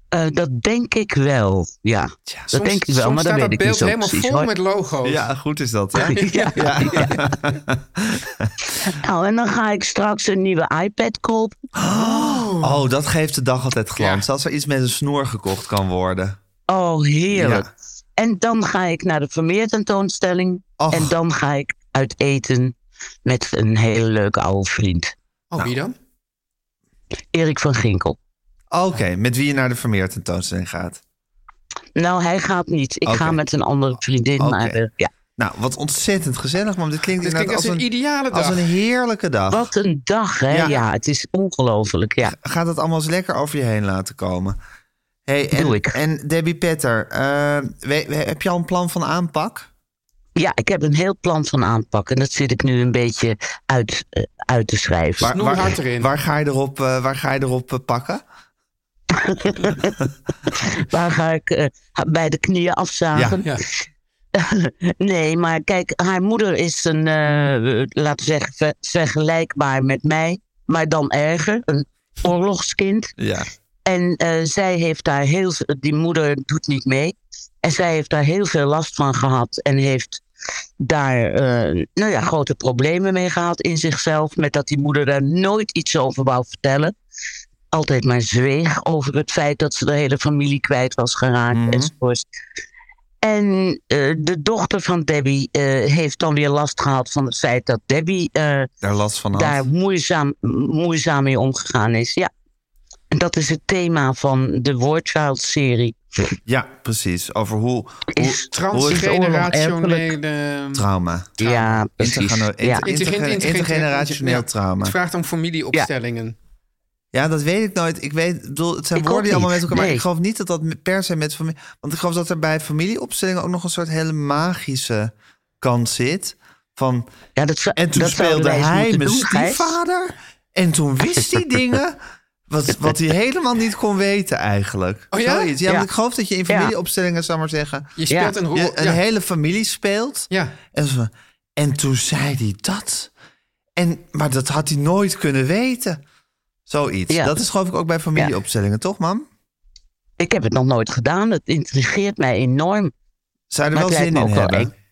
Speaker 8: eh, dat denk ik wel. Ja, dat
Speaker 3: Soms-
Speaker 8: denk ik wel,
Speaker 3: soms
Speaker 8: maar dat
Speaker 3: staat
Speaker 8: weet ik
Speaker 3: beeld
Speaker 8: niet zo
Speaker 3: helemaal
Speaker 8: precies.
Speaker 3: vol
Speaker 8: hoor.
Speaker 3: met logo's.
Speaker 4: Ja, goed is dat, hè?
Speaker 8: Ja.
Speaker 4: ja.
Speaker 8: Nou, en dan ga ik straks een nieuwe iPad kopen.
Speaker 4: Oh, dat geeft de dag altijd glans.
Speaker 3: Ja.
Speaker 4: Als er iets met een snoer gekocht kan worden.
Speaker 8: Oh, heerlijk.
Speaker 4: Ja.
Speaker 8: En dan ga ik naar de Vermeer tentoonstelling.
Speaker 4: Och.
Speaker 8: En dan ga ik uit eten met een hele leuke oude vriend.
Speaker 3: Oh, wie dan?
Speaker 8: Erik van Ginkel.
Speaker 4: Oké, met wie je naar de Vermeer tentoonstelling gaat.
Speaker 8: Nou, hij gaat niet. Ik ga
Speaker 4: Oké.
Speaker 8: met een andere vriendin.
Speaker 4: Oké.
Speaker 8: Maar eh, ja.
Speaker 4: Nou, wat ontzettend gezellig, man. Dit klinkt
Speaker 3: Dit klinkt
Speaker 4: inderdaad
Speaker 3: als een, ideale
Speaker 4: als
Speaker 3: dag.
Speaker 4: een heerlijke dag.
Speaker 8: Wat een dag, hè?
Speaker 4: Ja.
Speaker 8: Ja, het is ongelooflijk. Ja.
Speaker 4: Gaat dat allemaal eens lekker over je heen laten komen. Hey, en,
Speaker 8: Doe ik.
Speaker 4: En Debbie Petter, eh, we- we- heb je al een plan van aanpak?
Speaker 8: ja, ik heb een heel plan van aanpak. En dat zit ik nu een beetje uit, eh, uit te schrijven.
Speaker 3: Snoer hard erin.
Speaker 4: waar ga je erop, eh, waar ga je erop eh, pakken?
Speaker 8: Waar ga ik eh, bij de knieën afzagen?
Speaker 3: Ja.
Speaker 8: Nee, maar kijk, haar moeder is een, eh, eh, laten we zeggen, ver- vergelijkbaar met mij, maar dan erger, een oorlogskind.
Speaker 4: Ja.
Speaker 8: En eh, zij heeft daar heel, ve- die moeder doet niet mee. En zij heeft daar heel veel last van gehad en heeft daar, eh, nou ja, grote problemen mee gehad in zichzelf, met dat die moeder daar nooit iets over wou vertellen. Altijd maar zweeg over het feit dat ze de hele familie kwijt was geraakt
Speaker 4: Mhm.
Speaker 8: enzovoorts. En eh, de dochter van Debbie eh, heeft dan weer last gehad van het feit dat Debbie eh,
Speaker 4: Daar last van had.
Speaker 8: daar moeizaam, moeizaam mee omgegaan is. Ja. En dat is het thema van de Woordchild-serie.
Speaker 4: Ja, precies. Over hoe, hoe
Speaker 8: Is
Speaker 3: Transgenerationele...
Speaker 4: trauma.
Speaker 8: Ja, precies.
Speaker 4: Intergeno-
Speaker 8: ja.
Speaker 4: inter- interge- intergenerationeel
Speaker 3: ja,
Speaker 4: trauma.
Speaker 3: Het vraagt om familieopstellingen.
Speaker 4: Ja, dat weet ik nooit. Ik weet, ik bedoel, het zijn
Speaker 8: Ik
Speaker 4: woorden die
Speaker 8: ook
Speaker 4: allemaal met
Speaker 8: niet.
Speaker 4: elkaar. Maar
Speaker 8: Nee.
Speaker 4: ik geloof niet dat dat met- per se met familie. Want ik geloof dat er bij familieopstellingen ook nog een soort hele magische kant zit. Van,
Speaker 8: ja, dat zou,
Speaker 4: en toen
Speaker 8: dat zouden
Speaker 4: speelde
Speaker 8: wij eens
Speaker 4: hij
Speaker 8: moeten
Speaker 4: mijn
Speaker 8: doen, Gijs.
Speaker 4: stiefvader. En toen wist hij dingen. Wat, wat hij helemaal niet kon weten eigenlijk.
Speaker 3: Oh ja?
Speaker 4: Zoiets. Ja,
Speaker 8: Ja.
Speaker 4: want ik geloof dat je in
Speaker 8: Ja.
Speaker 4: familieopstellingen, zou maar zeggen...
Speaker 3: Je speelt een rol.
Speaker 4: je
Speaker 3: Ja,
Speaker 4: een hele familie speelt.
Speaker 3: ja.
Speaker 4: En, zo van, en toen zei hij dat. En, maar dat had hij nooit kunnen weten. Zoiets.
Speaker 8: Ja.
Speaker 4: Dat is geloof ik ook bij familieopstellingen, toch, mam?
Speaker 8: Ik heb het nog nooit gedaan. Het intrigeert mij enorm.
Speaker 4: Zou je er
Speaker 8: Maar
Speaker 4: wel
Speaker 8: het
Speaker 4: zin
Speaker 8: lijkt me
Speaker 4: in
Speaker 8: ook wel
Speaker 4: hebben?
Speaker 8: eng.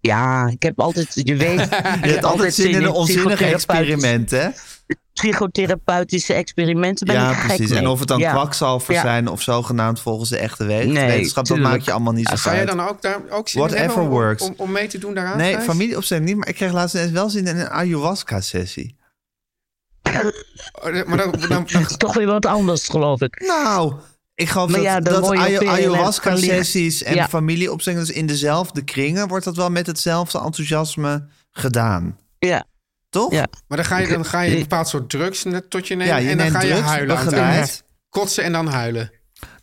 Speaker 8: Ja, ik heb altijd, je weet... Je
Speaker 4: Je hebt altijd zin in een onzinnig experiment, hè?
Speaker 8: Psychotherapeutische experimenten ben
Speaker 4: Ja,
Speaker 8: ik gek
Speaker 4: precies. En
Speaker 8: mee.
Speaker 4: of het dan
Speaker 8: Ja.
Speaker 4: kwakzalvers
Speaker 8: Ja.
Speaker 4: zijn of zogenaamd volgens de echte weg-
Speaker 8: Nee,
Speaker 4: wetenschap, dat
Speaker 8: tuurlijk.
Speaker 4: maakt je allemaal niet zo
Speaker 3: Zou jij
Speaker 4: uit.
Speaker 3: dan ook daar ook zin in
Speaker 4: Whatever
Speaker 3: hebben om,
Speaker 4: works.
Speaker 3: Om, om mee te doen daaraan?
Speaker 4: Nee,
Speaker 3: Gijs?
Speaker 4: familieopstelling niet, maar ik kreeg laatst ineens wel zin in een ayahuasca-sessie.
Speaker 3: Oh, Maar dan, dan, dan-
Speaker 8: Het is toch weer wat anders, geloof ik.
Speaker 4: Nou, ik geloof
Speaker 8: Maar
Speaker 4: dat,
Speaker 8: ja, dan
Speaker 4: dat
Speaker 8: word je
Speaker 4: ayo-
Speaker 8: op je
Speaker 4: ayahuasca-sessies en
Speaker 8: Ja.
Speaker 4: familieopstellingen, dus in dezelfde kringen, wordt dat wel met hetzelfde enthousiasme gedaan.
Speaker 8: Ja,
Speaker 4: Toch?
Speaker 8: ja.
Speaker 3: maar dan, ga je, dan ga je een bepaald soort drugs ne- tot je nemen.
Speaker 4: Ja, je
Speaker 3: en dan
Speaker 4: neemt
Speaker 3: ga je
Speaker 4: drugs,
Speaker 3: huilen. aan het
Speaker 4: begeleid.
Speaker 3: eind. Kotsen en dan huilen.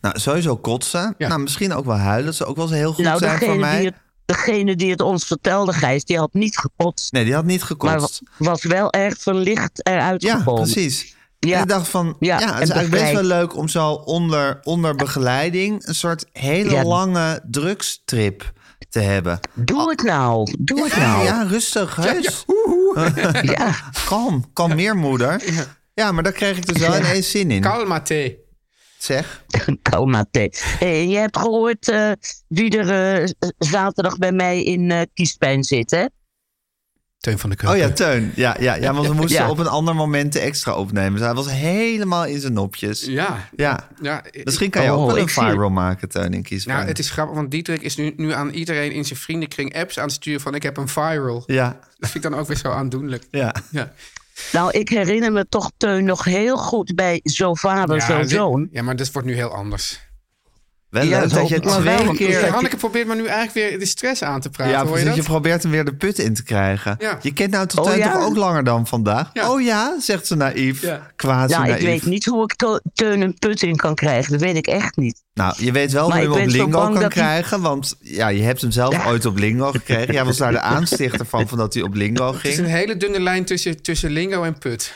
Speaker 4: Nou, sowieso kotsen.
Speaker 3: Ja.
Speaker 4: Nou, misschien ook wel huilen. Dat zou ook wel eens heel goed
Speaker 8: nou,
Speaker 4: zijn voor
Speaker 8: degene
Speaker 4: mij.
Speaker 8: die, het, degene die het ons vertelde, Gijs, die had niet gekotst.
Speaker 4: Nee, die had niet
Speaker 8: maar
Speaker 4: gekotst.
Speaker 8: wa- was wel erg verlicht eruit
Speaker 4: Ja,
Speaker 8: gekomen.
Speaker 4: precies.
Speaker 8: Ja.
Speaker 4: En ik dacht van, ja,
Speaker 8: Ja,
Speaker 4: het is
Speaker 8: en
Speaker 4: eigenlijk best wel
Speaker 8: begeleid.
Speaker 4: leuk om zo onder, onder begeleiding een soort hele
Speaker 8: Ja.
Speaker 4: lange drugstrip te hebben.
Speaker 8: Doe het nou, doe het
Speaker 4: Ja,
Speaker 8: nou.
Speaker 4: ja, rustig, heus.
Speaker 8: Ja.
Speaker 4: Kalm, kalm meer, moeder. Ja, maar daar kreeg ik dus wel ineens zin in.
Speaker 3: Kalma thee.
Speaker 4: Zeg.
Speaker 8: Coma thee. Hey, je hebt gehoord eh, wie er eh, z- zaterdag bij mij in eh, kiespijn zit, hè?
Speaker 3: Teun van de Keuken.
Speaker 4: Oh ja, Teun. Ja, ja, ja want we moesten
Speaker 8: Ja.
Speaker 4: op een ander moment de extra opnemen. Dus hij was helemaal in zijn nopjes.
Speaker 3: Ja.
Speaker 4: Ja.
Speaker 3: ja ik-
Speaker 4: Misschien kan je ook
Speaker 8: Oh,
Speaker 4: wel een
Speaker 8: ik zie-
Speaker 4: viral maken, Teun, in Kieswijn.
Speaker 3: Nou, het is grappig, want Dietrich is nu, nu aan iedereen in zijn vriendenkring apps aan het sturen van ik heb een viral.
Speaker 4: Ja,
Speaker 3: Dat vind ik dan ook weer zo aandoenlijk.
Speaker 4: ja.
Speaker 3: Ja,
Speaker 8: Nou, ik herinner me toch Teun nog heel goed bij Zo Vader, Zo
Speaker 3: dit-
Speaker 8: Zoon.
Speaker 3: ja maar dit wordt nu heel anders.
Speaker 4: Wel
Speaker 3: Ja,
Speaker 4: leuk
Speaker 3: dat
Speaker 4: dat je
Speaker 3: hoop ik wel.
Speaker 4: twee
Speaker 3: Want
Speaker 4: keer...
Speaker 3: Hanneke probeert me nu eigenlijk weer de stress aan te praten.
Speaker 4: Ja,
Speaker 3: hoor je
Speaker 4: precies.
Speaker 3: dat?
Speaker 4: Je probeert hem weer de put in te krijgen.
Speaker 3: Ja.
Speaker 4: Je kent nou
Speaker 8: Oh,
Speaker 4: tot oh,
Speaker 8: ja?
Speaker 4: toch ook langer dan vandaag?
Speaker 3: Ja.
Speaker 4: Oh ja, zegt ze naïef.
Speaker 3: Ja.
Speaker 4: Kwaad ze
Speaker 8: Ja,
Speaker 4: naïef.
Speaker 8: Nou, ik weet niet hoe ik to- Teun een put in kan krijgen. Dat weet ik echt niet.
Speaker 4: Nou, je weet wel hoe
Speaker 8: Maar
Speaker 4: je
Speaker 8: ik
Speaker 4: hem op
Speaker 8: ben zo
Speaker 4: Lingo
Speaker 8: bang
Speaker 4: kan
Speaker 8: dat die-
Speaker 4: krijgen. Want ja, je hebt hem zelf ooit op Lingo gekregen. Jij was daar de aanstichter van, van dat hij op Lingo
Speaker 3: Het is
Speaker 4: ging.
Speaker 3: een hele dunne lijn tussen, tussen lingo en put.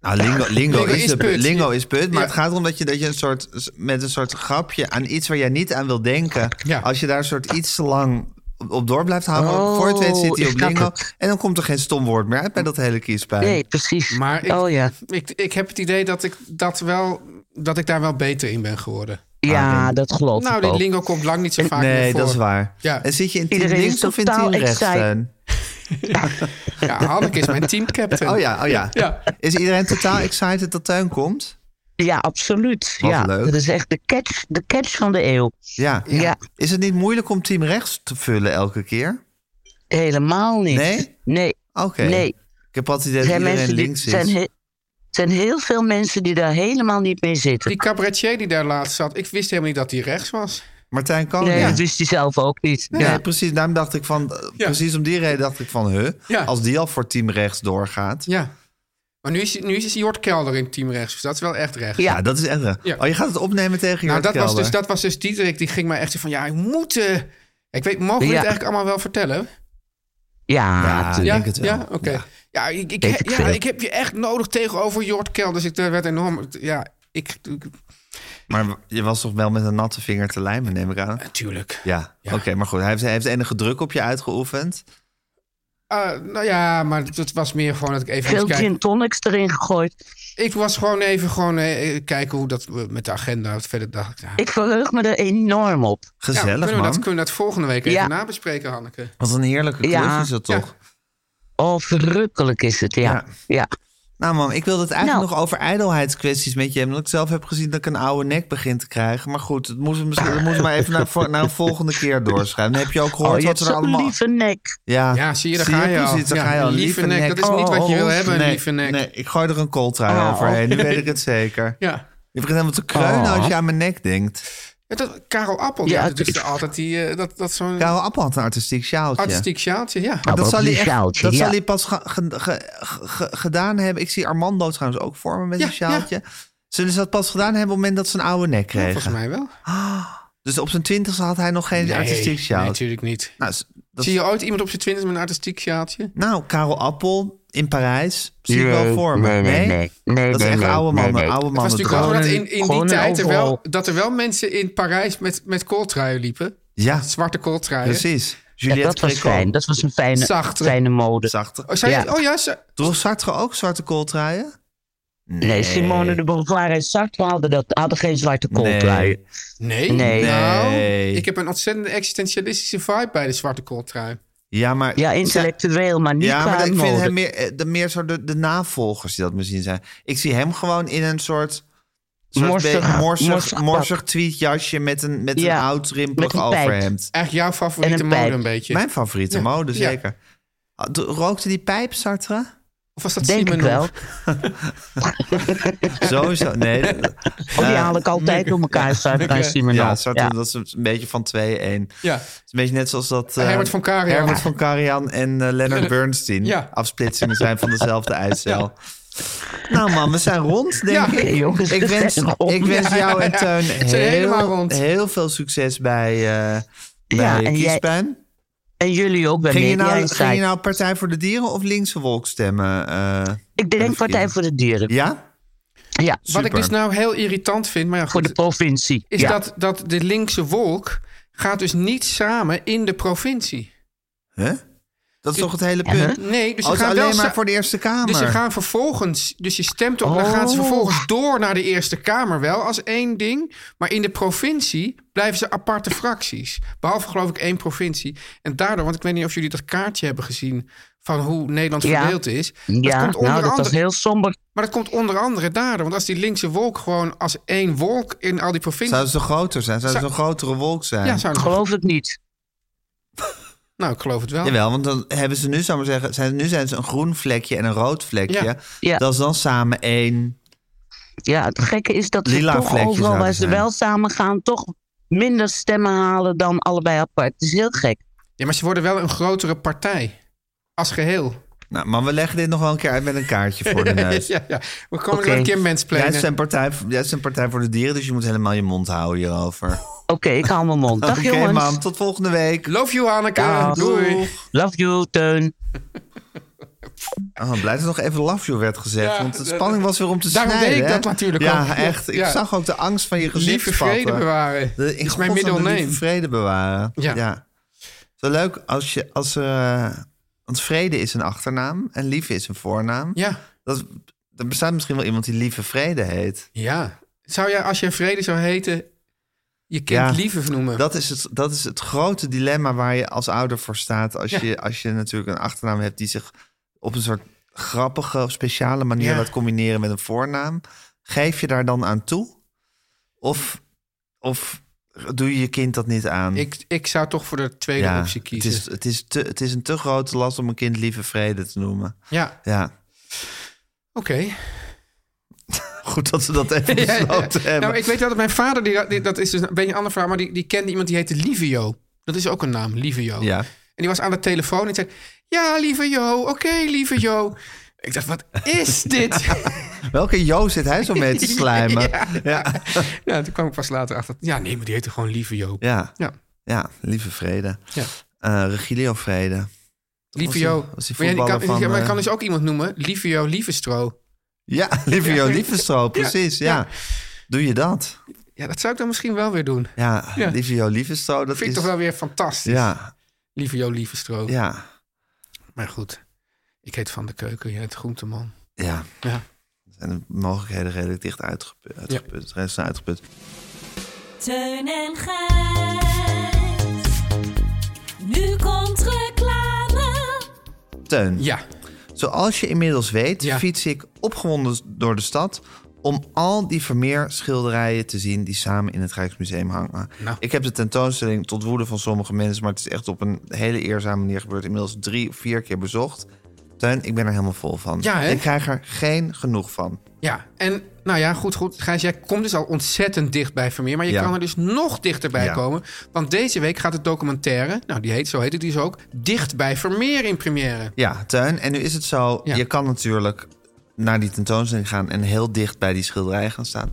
Speaker 4: Nou, lingo, lingo,
Speaker 3: Lingo
Speaker 4: is,
Speaker 3: is
Speaker 4: de put.
Speaker 3: put.
Speaker 4: Lingo is put. Maar
Speaker 3: Ja.
Speaker 4: het gaat erom dat je, dat je een soort, met een soort grapje aan iets waar jij niet aan wil denken.
Speaker 3: Ja.
Speaker 4: Als je daar een soort iets te lang op- op door blijft houden.
Speaker 8: Oh,
Speaker 4: voor het weet zit
Speaker 8: ik
Speaker 4: hij op
Speaker 8: snap
Speaker 4: lingo.
Speaker 8: het.
Speaker 4: En dan komt er geen stom woord meer uit bij dat hele kiespijn.
Speaker 8: Nee, precies.
Speaker 3: Maar ik-
Speaker 8: oh ja,
Speaker 3: Ik, ik heb het idee dat ik, dat, wel, dat ik daar wel beter in ben geworden.
Speaker 8: ja dat geloof
Speaker 3: nou,
Speaker 8: ik
Speaker 3: die
Speaker 8: ook.
Speaker 3: lingo komt lang niet zo vaak meer
Speaker 4: Eh, Nee,
Speaker 3: voor.
Speaker 4: dat is waar.
Speaker 3: Ja.
Speaker 4: En zit je in team
Speaker 8: Iedereen is
Speaker 4: links of in
Speaker 8: totaal
Speaker 4: team rechts?
Speaker 8: excited.
Speaker 4: Teun?
Speaker 3: Ja, Hanneke is mijn teamcaptain.
Speaker 4: Oh ja, oh ja.
Speaker 3: Ja.
Speaker 4: Is iedereen totaal excited dat Teun komt?
Speaker 8: Ja, absoluut.
Speaker 4: Wat
Speaker 8: ja,
Speaker 4: leuk.
Speaker 8: dat is echt de catch, de catch van de eeuw.
Speaker 4: Ja.
Speaker 8: Ja,
Speaker 4: Is het niet moeilijk om team rechts te vullen elke keer?
Speaker 8: helemaal niet.
Speaker 4: Nee?
Speaker 8: Nee,
Speaker 4: Oké.
Speaker 8: nee.
Speaker 4: Ik heb altijd het
Speaker 8: Er
Speaker 4: idee
Speaker 8: zijn,
Speaker 4: dat iedereen
Speaker 8: mensen die,
Speaker 4: links is.
Speaker 8: zijn, he- zijn heel veel mensen die daar helemaal niet mee zitten.
Speaker 3: Die cabaretier die daar laatst zat, ik wist helemaal niet dat hij rechts was.
Speaker 4: Martijn Koning.
Speaker 8: nee,
Speaker 4: ja.
Speaker 8: dat wist hij zelf ook niet.
Speaker 4: Nee,
Speaker 8: ja.
Speaker 4: precies. Daarom dacht ik van, eh,
Speaker 3: Ja.
Speaker 4: precies om die reden dacht ik van, huh,
Speaker 3: Ja.
Speaker 4: als die al voor team rechts doorgaat. Ja,
Speaker 3: Ja. Maar nu is, nu is Jort Kelder in team rechts, dus dat is wel echt rechts.
Speaker 4: dat is echt. eh,
Speaker 3: Ja.
Speaker 4: Oh, je gaat het opnemen tegen
Speaker 3: Nou,
Speaker 4: Jort
Speaker 3: dat was,
Speaker 4: Kelder.
Speaker 3: dus, dat was dus Diederik, die ging mij echt zo van, ja, ik moet... eh, ik weet, mogen we
Speaker 8: Ja.
Speaker 3: dit eigenlijk allemaal wel vertellen?
Speaker 8: Ja,
Speaker 4: Ja,
Speaker 8: natuurlijk.
Speaker 4: ik
Speaker 3: ja,
Speaker 4: denk het wel.
Speaker 3: ja, oké. Ja, ik, ik,
Speaker 8: Weet ik
Speaker 3: ja,
Speaker 8: veel.
Speaker 3: ik heb je echt nodig tegenover Jort Kelder. Dus ik eh, werd enorm... Ja, ik... ik-
Speaker 4: Maar je was toch wel met een natte vinger te lijmen, neem ik aan.
Speaker 3: Natuurlijk.
Speaker 4: Ja,
Speaker 3: Ja.
Speaker 4: oké, maar goed. Hij heeft, hij heeft enige druk op je uitgeoefend.
Speaker 3: Eh, nou ja, maar het was meer gewoon dat ik even...
Speaker 8: Veel
Speaker 3: moest kijken.
Speaker 8: gin tonics erin gegooid.
Speaker 3: Ik was gewoon even gewoon, eh, kijken hoe dat eh, met de agenda verder dacht. ik, ja.
Speaker 8: Ik verheug me er enorm op.
Speaker 3: Ja,
Speaker 4: Gezellig,
Speaker 3: kunnen, we
Speaker 4: man.
Speaker 3: dat, kunnen we dat volgende week
Speaker 8: Ja.
Speaker 3: even nabespreken, Hanneke?
Speaker 4: Wat een heerlijke klus
Speaker 8: Ja.
Speaker 4: is dat
Speaker 3: Ja.
Speaker 4: toch?
Speaker 8: Oh, verrukkelijk is het, ja.
Speaker 4: Ja.
Speaker 8: ja.
Speaker 4: Nou man, ik wilde het eigenlijk
Speaker 8: Nou.
Speaker 4: nog over ijdelheidskwesties met je hebben. Omdat ik zelf heb gezien dat ik een oude nek begin te krijgen. Maar goed, het moest, misschien, we moeten maar even naar, voor- naar een volgende keer doorschrijven. Dan heb je ook
Speaker 8: Oh,
Speaker 4: gehoord
Speaker 8: je
Speaker 4: wat
Speaker 8: hebt
Speaker 4: er
Speaker 8: zo'n
Speaker 4: allemaal...
Speaker 8: lieve nek.
Speaker 4: Ja,
Speaker 3: Ja, zie je, daar ga je al.
Speaker 4: precies, daar
Speaker 3: Ja,
Speaker 4: ga je al. Oh,
Speaker 3: een lieve nek, dat is niet wat je wil hebben, een
Speaker 4: nee,
Speaker 3: lieve nek.
Speaker 4: Nee, ik gooi er een kooltrui
Speaker 8: Oh.
Speaker 4: overheen, nu weet ik het zeker.
Speaker 3: Ja.
Speaker 4: Je begint helemaal te kreunen
Speaker 8: Oh.
Speaker 4: als je aan mijn nek denkt.
Speaker 3: Ja, Dat, Karel Appel,
Speaker 8: Ja,
Speaker 3: ja,
Speaker 8: het
Speaker 3: dat is
Speaker 8: is-
Speaker 3: altijd die, eh, dat, dat zo'n
Speaker 4: Karel Appel had een artistiek sjaaltje.
Speaker 3: artistiek sjaaltje. Ja.
Speaker 8: Nou,
Speaker 4: Dat,
Speaker 8: wat
Speaker 4: zal hij,
Speaker 8: een
Speaker 4: echt-
Speaker 8: sjaaltje,
Speaker 4: dat
Speaker 8: ja.
Speaker 4: zal hij pas ge- ge- ge- ge- gedaan hebben. Ik zie Armando trouwens ook voor me met
Speaker 3: Ja,
Speaker 4: een sjaaltje. Zullen ze dat pas gedaan hebben op het moment dat ze een oude nek
Speaker 3: Ja,
Speaker 4: kregen?
Speaker 3: volgens mij wel.
Speaker 4: Dus op zijn twintigste had hij nog geen artistiek
Speaker 3: Nee,
Speaker 4: sjaaltje.
Speaker 3: natuurlijk niet.
Speaker 4: nou, s- dat-
Speaker 3: Zie je ooit iemand op zijn twintig met een artistiek sjaaltje?
Speaker 4: nou, Karel Appel in Parijs. Zie ik wel voor me.
Speaker 8: Nee, nee, nee. nee
Speaker 4: Dat is
Speaker 8: nee,
Speaker 4: echt
Speaker 8: nee,
Speaker 4: oude
Speaker 8: nee,
Speaker 4: mannen.
Speaker 8: nee.
Speaker 4: Oude
Speaker 3: Het was
Speaker 4: mannen
Speaker 3: natuurlijk wel zo dat
Speaker 4: dromen.
Speaker 3: in, in die
Speaker 8: Gewoon
Speaker 3: tijd er
Speaker 8: overal.
Speaker 3: wel, dat er wel mensen in Parijs met, met kooltruien liepen.
Speaker 4: Ja,
Speaker 3: Zwarte kooltruien.
Speaker 4: precies.
Speaker 8: Ja,
Speaker 4: Juliette
Speaker 8: dat was
Speaker 4: Precot.
Speaker 8: fijn. Dat was een fijne,
Speaker 3: Zachter.
Speaker 8: fijne mode.
Speaker 4: Zachter.
Speaker 3: Oh, zei
Speaker 8: Ja.
Speaker 3: je- oh ja, ze-
Speaker 4: Droeg Sartre ook zwarte kooltruien?
Speaker 8: Nee, Simone de Beauvoir en Sartre hadden, dat, hadden geen zwarte kooltruien.
Speaker 4: Nee.
Speaker 3: nee.
Speaker 8: Nee.
Speaker 3: Nou,
Speaker 4: Nee.
Speaker 3: ik heb een ontzettende existentialistische vibe bij de zwarte kooltrui.
Speaker 4: Ja, maar...
Speaker 8: Ja, intellectueel, maar niet
Speaker 4: ja,
Speaker 8: qua
Speaker 4: maar ik
Speaker 8: mode.
Speaker 4: vind hem meer, eh, de, meer zo de, de navolgers die dat misschien zijn. Ik zie hem gewoon in een soort... soort
Speaker 8: Morsig-
Speaker 4: be- morsig,
Speaker 8: morsig
Speaker 4: morsig,
Speaker 8: pak.
Speaker 4: tweetjasje met een, met
Speaker 8: Ja,
Speaker 4: een oud rimpelig
Speaker 8: met een pijp.
Speaker 4: overhemd.
Speaker 3: Echt jouw
Speaker 8: En
Speaker 3: favoriete
Speaker 8: een pijp.
Speaker 3: mode een beetje.
Speaker 4: Mijn favoriete
Speaker 3: Ja.
Speaker 4: mode,
Speaker 3: Ja.
Speaker 4: zeker. Ah, d- Rookte die pijp, Sartre?
Speaker 3: Of was dat
Speaker 8: Denk ik
Speaker 3: Simon?
Speaker 8: wel.
Speaker 4: Sowieso, nee.
Speaker 8: Oh,
Speaker 4: Eh,
Speaker 8: die haal ik altijd door elkaar, Sartre en Simonov.
Speaker 4: Ja, Sartre,
Speaker 8: Ja.
Speaker 4: dat is een beetje van 2-1. Het
Speaker 3: Ja.
Speaker 4: is een beetje net zoals dat... eh,
Speaker 3: Herbert van Karajan.
Speaker 4: Herbert van Karajan en eh, Leonard Bernstein.
Speaker 3: Ja.
Speaker 4: Afsplitsingen zijn van dezelfde eicel. Nou man, we zijn rond, denk
Speaker 3: Ja.
Speaker 4: ik.
Speaker 8: Nee, jongens,
Speaker 4: Ik
Speaker 8: we
Speaker 4: wens,
Speaker 8: zijn rond.
Speaker 4: ik wens jou en Teun
Speaker 3: zijn helemaal
Speaker 4: heel,
Speaker 3: rond.
Speaker 4: heel veel succes bij, eh
Speaker 8: Ja,
Speaker 4: bij
Speaker 8: en jij-
Speaker 4: Kiespijn.
Speaker 8: En jullie ook bij
Speaker 4: Ging je,
Speaker 8: Media
Speaker 4: nou,
Speaker 8: Insight.
Speaker 4: ging je nou Partij voor de Dieren of Linkse Wolk stemmen? eh,
Speaker 8: Ik denk Partij voor de Dieren.
Speaker 4: ja?
Speaker 8: Ja,
Speaker 3: Wat
Speaker 4: Super.
Speaker 3: ik dus nou heel irritant vind, maar ja,
Speaker 8: voor
Speaker 3: goed,
Speaker 8: de provincie.
Speaker 3: is
Speaker 8: ja.
Speaker 3: dat, dat de linkse wolk gaat dus niet samen in de provincie.
Speaker 4: Huh? Dat is toch het hele
Speaker 8: Ja, huh?
Speaker 4: punt?
Speaker 3: Nee, nou- dus
Speaker 4: Oh,
Speaker 3: ze
Speaker 4: het is
Speaker 3: gaan wel
Speaker 4: alleen maar
Speaker 3: sa-
Speaker 4: voor de Eerste Kamer.
Speaker 3: Dus ze gaan vervolgens, dus je stemt op, dan gaan ze
Speaker 8: Oh.
Speaker 3: vervolgens door naar de Eerste Kamer wel als één ding. Maar in de provincie blijven ze aparte fracties. Behalve geloof ik één provincie. En daardoor, want ik weet niet of jullie dat kaartje hebben gezien van hoe Nederland
Speaker 8: Ja.
Speaker 3: verdeeld is.
Speaker 8: ja,
Speaker 3: komt onder
Speaker 8: nou, dat was
Speaker 3: andere-
Speaker 8: heel somber.
Speaker 3: Maar dat komt onder andere daardoor. Want als die linkse wolk gewoon als één wolk in al die provincies...
Speaker 4: Zouden ze groter zijn? Zouden ze een grotere wolk zijn?
Speaker 3: Ja, zouden ze-
Speaker 8: Geloof ik niet.
Speaker 3: Nou, ik geloof het wel.
Speaker 4: Jawel, want dan hebben ze nu, zou ik maar zeggen, zijn, nu zijn ze een groen vlekje en een rood vlekje.
Speaker 3: Ja.
Speaker 8: Ja.
Speaker 4: Dat is dan samen één.
Speaker 8: Ja, het gekke is dat ze
Speaker 4: Lila
Speaker 8: toch
Speaker 4: vlekjes
Speaker 8: overal
Speaker 4: zouden
Speaker 8: waar ze
Speaker 4: zijn.
Speaker 8: wel samen gaan, toch minder stemmen halen dan allebei apart. Het is heel gek.
Speaker 3: Ja, maar ze worden wel een grotere partij. Als geheel.
Speaker 4: Nou, maar we leggen dit nog wel een keer uit met een kaartje voor de neus.
Speaker 3: ja, ja. We komen
Speaker 4: Oké.
Speaker 3: er wel een keer mensplannen.
Speaker 4: Jij is, een partij, jij is een partij voor de dieren, dus je moet helemaal je mond houden hierover.
Speaker 8: Oké, ik hou mijn mond. Dag
Speaker 4: Oké,
Speaker 8: jongens.
Speaker 4: mam. Tot volgende week.
Speaker 3: Love you, Hanneke.
Speaker 8: Dag.
Speaker 3: Doei.
Speaker 8: Love you, Teun.
Speaker 4: Oh, blij dat er nog even love you werd gezegd.
Speaker 3: Ja,
Speaker 4: want de
Speaker 3: dat-
Speaker 4: spanning was weer om te
Speaker 3: Daarom
Speaker 4: snijden.
Speaker 3: deed ik
Speaker 4: hè?
Speaker 3: dat natuurlijk
Speaker 4: ja,
Speaker 3: ook.
Speaker 4: echt. Ik
Speaker 3: Ja.
Speaker 4: zag ook de angst van je gezicht
Speaker 3: Lieve vrede
Speaker 4: vatten.
Speaker 3: bewaren.
Speaker 4: De, in
Speaker 3: is mijn
Speaker 4: godsnaam
Speaker 3: middle
Speaker 4: de
Speaker 3: name.
Speaker 4: lieve vrede bewaren.
Speaker 3: Ja.
Speaker 4: Ja. Zo leuk als je... Als, eh, want vrede is een achternaam en lieve is een voornaam.
Speaker 3: Ja.
Speaker 4: Dat, er bestaat misschien wel iemand die lieve vrede heet.
Speaker 3: Ja. Zou jij, als je vrede zou heten, je kind
Speaker 4: Ja.
Speaker 3: lieve noemen?
Speaker 4: Dat is, het, dat is het grote dilemma waar je als ouder voor staat. Als, je, als je natuurlijk een achternaam hebt die zich op een soort grappige, speciale manier
Speaker 3: Ja.
Speaker 4: laat combineren met een voornaam. Geef je daar dan aan toe? Of, of doe je je kind dat niet aan?
Speaker 3: ik, ik zou toch voor de tweede optie
Speaker 4: het
Speaker 3: kiezen.
Speaker 4: is, het, is te, het is een te grote last om een kind lieve vrede te noemen.
Speaker 3: Ja,
Speaker 4: Ja,
Speaker 3: oké.
Speaker 4: goed dat ze dat even
Speaker 3: Ja, ja.
Speaker 4: besloten hebben.
Speaker 3: Nou, ik weet wel dat mijn vader, die, die- dat is dus een beetje een ander verhaal, maar die, die kende iemand die heette Livio. Dat is ook een naam, Livio.
Speaker 4: Ja.
Speaker 3: En die was aan de telefoon en zei: Ja, lieve Jo, oké, lieve Jo. Ik dacht, wat is dit?
Speaker 4: Welke Jo zit hij zo mee te slijmen?
Speaker 3: Ja.
Speaker 4: ja.
Speaker 3: ja, toen kwam ik pas later achter. Ja, nee, maar die heette gewoon Lieve Jo.
Speaker 4: ja.
Speaker 3: Ja.
Speaker 4: Ja, lieve Vrede.
Speaker 3: Ja.
Speaker 4: Eh, Regilio Vrede.
Speaker 3: Lieve
Speaker 4: Was
Speaker 3: Jo.
Speaker 4: die- was die
Speaker 3: Maar ja, die kan,
Speaker 4: voetballer van,
Speaker 3: ja, maar ik
Speaker 4: eh,
Speaker 3: kan dus ook iemand noemen. Lieve Jo, Lievestro.
Speaker 4: Ja, lieve Jo, lieve Stro, precies. Ja.
Speaker 3: ja.
Speaker 4: Doe je dat?
Speaker 3: Ja, dat zou ik dan misschien wel weer doen.
Speaker 4: Ja,
Speaker 3: Ja.
Speaker 4: lieve Jo, lieve Stro. Dat
Speaker 3: Dat vind
Speaker 4: is...
Speaker 3: ik toch wel weer fantastisch.
Speaker 4: Ja,
Speaker 3: Lieve Jo, Lievestro.
Speaker 4: ja,
Speaker 3: Maar goed, ik heet Van de Keuken, jij heet Groenteman.
Speaker 4: ja.
Speaker 3: Ja.
Speaker 4: En de mogelijkheden redelijk dicht uitgeput. uitgeput. De rest is uitgeput.
Speaker 7: Teun en Gijs. Nu komt reclame.
Speaker 4: Teun,
Speaker 3: Ja,
Speaker 4: zoals je inmiddels weet,
Speaker 3: Ja.
Speaker 4: fiets ik opgewonden door de stad... om al die Vermeer schilderijen te zien die samen in het Rijksmuseum hangen.
Speaker 3: Nou.
Speaker 4: Ik heb de tentoonstelling tot woede van sommige mensen... maar het is echt op een hele eerzame manier gebeurd. Inmiddels drie of vier keer bezocht. Teun, ik ben er helemaal vol van.
Speaker 3: Ja, hè?
Speaker 4: ik krijg er geen genoeg van.
Speaker 3: ja. En nou ja, goed, goed. Gijs, jij komt dus al ontzettend dicht bij Vermeer. Maar je
Speaker 4: Ja.
Speaker 3: kan er dus nog dichterbij
Speaker 4: Ja.
Speaker 3: komen. Want deze week gaat het documentaire, nou die heet, zo heet het dus ook... Dicht bij Vermeer in première.
Speaker 4: Ja, Tuin. En nu is het zo,
Speaker 3: Ja.
Speaker 4: je kan natuurlijk naar die tentoonstelling gaan... en heel dicht bij die schilderij gaan staan.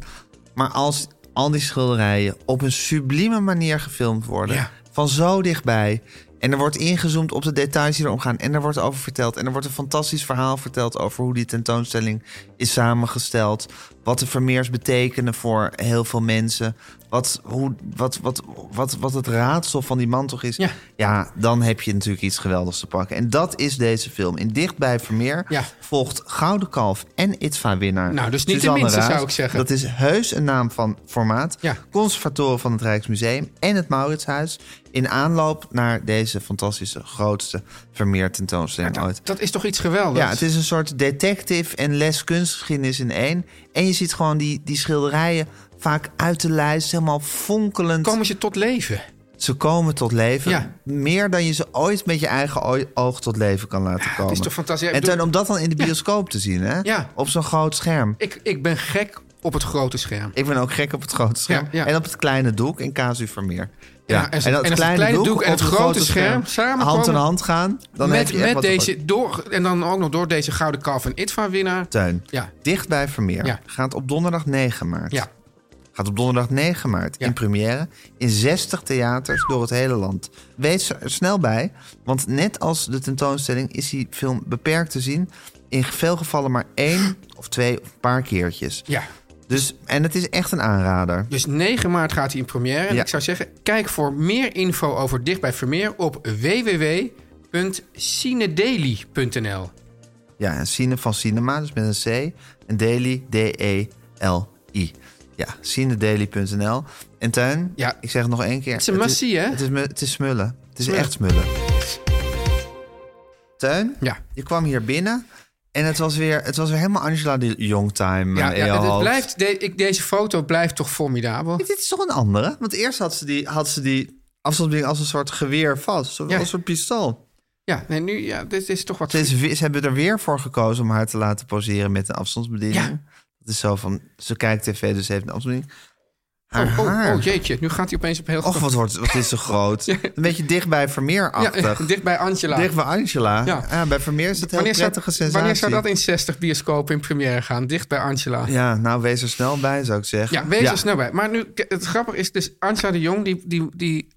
Speaker 4: Maar als al die schilderijen op een sublieme manier gefilmd worden...
Speaker 3: Ja.
Speaker 4: van zo dichtbij... en er wordt ingezoomd op de details die erom gaan... en er wordt over verteld. En er wordt een fantastisch verhaal verteld over hoe die tentoonstelling is samengesteld. Wat de Vermeers betekenen voor heel veel mensen. Wat, hoe, wat, wat, wat, wat het raadsel van die man toch is.
Speaker 3: Ja.
Speaker 4: Ja, dan heb je natuurlijk iets geweldigs te pakken. En dat is deze film. In Dichtbij Vermeer
Speaker 3: Ja.
Speaker 4: volgt Gouden Kalf en Itzva-winnaar.
Speaker 3: Nou, dus niet de
Speaker 4: Suzanne
Speaker 3: minste,
Speaker 4: Raas.
Speaker 3: zou ik zeggen.
Speaker 4: Dat is heus een naam van formaat.
Speaker 3: Ja.
Speaker 4: Conservatoren van het Rijksmuseum en het Mauritshuis... in aanloop naar deze fantastische grootste Vermeer-tentoonstelling ooit.
Speaker 3: Dat is toch iets geweldigs?
Speaker 4: Ja, het is een soort detective en les kunstgeschiedenis in één. En je ziet gewoon die, die schilderijen vaak uit de lijst, helemaal fonkelend.
Speaker 3: Komen ze tot leven?
Speaker 4: Ze komen tot leven.
Speaker 3: Ja.
Speaker 4: Meer dan je ze ooit met je eigen ooi- oog tot leven kan laten komen.
Speaker 3: toch fantastisch. Ja, ik
Speaker 4: En
Speaker 3: bedoel-
Speaker 4: ten, om dat dan in de bioscoop te zien, hè?
Speaker 3: Ja.
Speaker 4: Op zo'n groot scherm.
Speaker 3: Ik, ik ben gek op het grote scherm.
Speaker 4: Ik ben ook gek op het grote scherm.
Speaker 3: Ja, ja.
Speaker 4: En op het kleine doek in casu Vermeer.
Speaker 3: Ja, en zo- en als het kleine doek en
Speaker 4: op
Speaker 3: het grote scherm samenkomen-
Speaker 4: hand in hand gaan. Dan heb
Speaker 3: met
Speaker 4: je echt
Speaker 3: met
Speaker 4: wat te
Speaker 3: deze, door, en dan ook nog door deze Gouden Kalf en Itva-winnaar.
Speaker 4: Teun,
Speaker 3: Ja.
Speaker 4: dicht bij Vermeer.
Speaker 3: Ja.
Speaker 4: Gaat op donderdag 9 maart.
Speaker 3: Ja.
Speaker 4: Gaat op donderdag 9 maart
Speaker 3: Ja.
Speaker 4: in première in 60 theaters door het hele land. Wees er snel bij, want net als de tentoonstelling is die film beperkt te zien. In veel gevallen maar één of twee of een paar keertjes.
Speaker 3: Ja.
Speaker 4: Dus, en het is echt een aanrader.
Speaker 3: Dus 9 maart gaat hij in première. En
Speaker 4: Ja.
Speaker 3: ik zou zeggen, kijk voor meer info over Dicht bij Vermeer op www.cinedeli.nl.
Speaker 4: Ja, en Cine van Cinema, dus met een C. En Daily, D-E-L-I. Ja, cinedaily.nl. En Tuin,
Speaker 3: Ja.
Speaker 4: ik zeg het nog één keer. Het
Speaker 3: is een massie, hè?
Speaker 4: Het is, mu- het is smullen. Het is
Speaker 3: Smullen.
Speaker 4: echt smullen. Tuin,
Speaker 3: Ja.
Speaker 4: je kwam hier binnen en het was weer, het was weer helemaal Angela de Youngtime
Speaker 3: Ja,
Speaker 4: eh, in je
Speaker 3: ja, dit
Speaker 4: hoofd.
Speaker 3: blijft, de- ik, deze foto blijft toch formidabel.
Speaker 4: Dit is toch een andere? Want eerst had ze die, had ze die afstandsbediening als een soort geweer vast. Zo- Als
Speaker 3: Ja.
Speaker 4: een soort pistool.
Speaker 3: Ja, nee, nu, ja dit is toch wat...
Speaker 4: Ze, is weer- ze hebben er weer voor gekozen om haar te laten poseren met een afstandsbediening.
Speaker 3: Ja.
Speaker 4: Dat is zo van, ze kijkt tv, dus ze heeft een afstandsbediening. Haar
Speaker 3: oh,
Speaker 4: haar.
Speaker 3: oh jeetje, nu gaat hij opeens op heel
Speaker 4: Och, wat, wordt, wat is ze groot. Een beetje dichtbij Vermeer-achtig.
Speaker 3: Ja, dicht bij Angela.
Speaker 4: Dicht bij Angela.
Speaker 3: Ja.
Speaker 4: Ja. bij Vermeer is het heel
Speaker 3: Wanneer zou,
Speaker 4: prettige sensatie.
Speaker 3: wanneer zou dat in 60 bioscopen in première gaan? Dicht bij Angela.
Speaker 4: Ja, nou, wees er snel bij, zou ik zeggen.
Speaker 3: Ja, wees er snel bij. Maar nu, k- het grappige is dus... Angela de Jong, die, die, die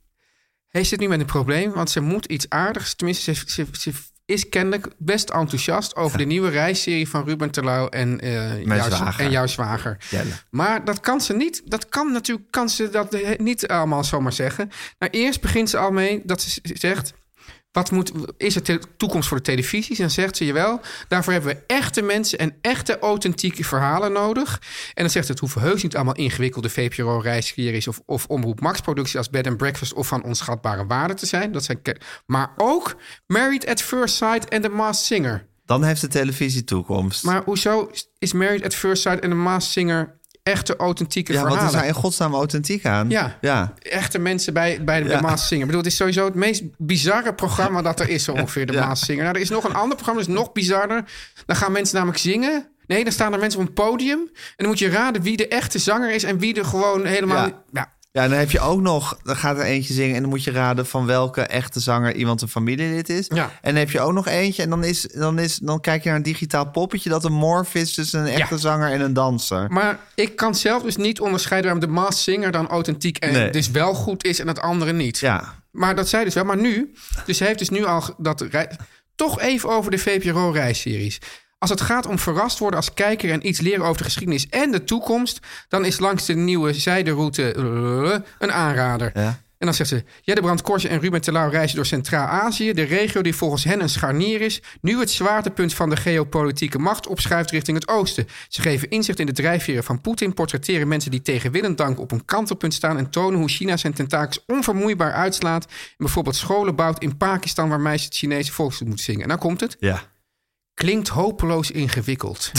Speaker 3: heeft zit nu met een probleem. Want ze moet iets aardigs... Tenminste, ze, ze, ze is kennelijk best enthousiast... over de nieuwe reisserie van Ruben Terlouw en, eh, jouw,
Speaker 4: zwager.
Speaker 3: en jouw zwager.
Speaker 4: Jelle.
Speaker 3: Maar dat kan ze niet. Dat kan natuurlijk kan ze dat he- niet allemaal zomaar zeggen. Nou, eerst begint ze al mee dat ze z- zegt... Wat moet, is er te- toekomst voor de televisies? En dan zegt ze, jawel, daarvoor hebben we echte mensen... en echte authentieke verhalen nodig. En dan zegt ze, het hoeven heus niet allemaal ingewikkelde VPRO-reisseries... Of, of Omroep Max-producties als Bed and Breakfast... of van onschatbare waarde te zijn. Dat zijn ke- maar ook Married at First Sight en The Masked Singer.
Speaker 4: Dan heeft de televisie toekomst.
Speaker 3: Maar hoezo is Married at First Sight en The Masked Singer... echte authentieke
Speaker 4: ja, wat
Speaker 3: verhalen?
Speaker 4: is daar in godsnaam authentiek aan?
Speaker 3: Ja.
Speaker 4: ja.
Speaker 3: echte mensen bij, bij de,
Speaker 4: Ja.
Speaker 3: Maas Singer. Ik bedoel, het is sowieso het meest bizarre programma dat er is, zo ongeveer, de
Speaker 4: Ja.
Speaker 3: Maas Singer. Nou, er is nog een ander programma, dat is nog bizarder. Dan gaan mensen namelijk zingen. Nee, dan staan er mensen op een podium. En dan moet je raden wie de echte zanger is en wie er gewoon helemaal...
Speaker 4: Ja.
Speaker 3: Ja,
Speaker 4: Ja, en dan heb je ook nog, dan gaat er eentje zingen en dan moet je raden van welke echte zanger iemand een familielid is.
Speaker 3: Ja.
Speaker 4: En dan heb je ook nog eentje en dan, is, dan, is, dan kijk je naar een digitaal poppetje dat een morf is tussen een echte zanger en een danser.
Speaker 3: Maar ik kan zelf dus niet onderscheiden waarom de Maas Singer dan authentiek en
Speaker 4: Nee.
Speaker 3: dus wel goed is en het andere niet.
Speaker 4: Ja,
Speaker 3: Maar dat zei dus wel. Maar nu, dus hij heeft dus nu al ge- dat rei- toch even over de VPRO-reisseries. Als het gaat om verrast worden als kijker en iets leren over de geschiedenis en de toekomst, dan is langs de nieuwe zijderoute eh, een aanrader.
Speaker 4: Ja.
Speaker 3: En dan zegt ze: Jeddebrand Korsen en Ruben Telau reizen door Centraal-Azië, de regio die volgens hen een scharnier is, nu het zwaartepunt van de geopolitieke macht opschuift richting het oosten. Ze geven inzicht in de drijfveren van Poetin, portretteren mensen die tegen willend dank op een kantelpunt staan en tonen hoe China zijn tentakels onvermoeibaar uitslaat en bijvoorbeeld scholen bouwt in Pakistan waar meisjes het Chinese volkslied moeten zingen. En dan komt het:
Speaker 4: ja.
Speaker 3: klinkt hopeloos ingewikkeld.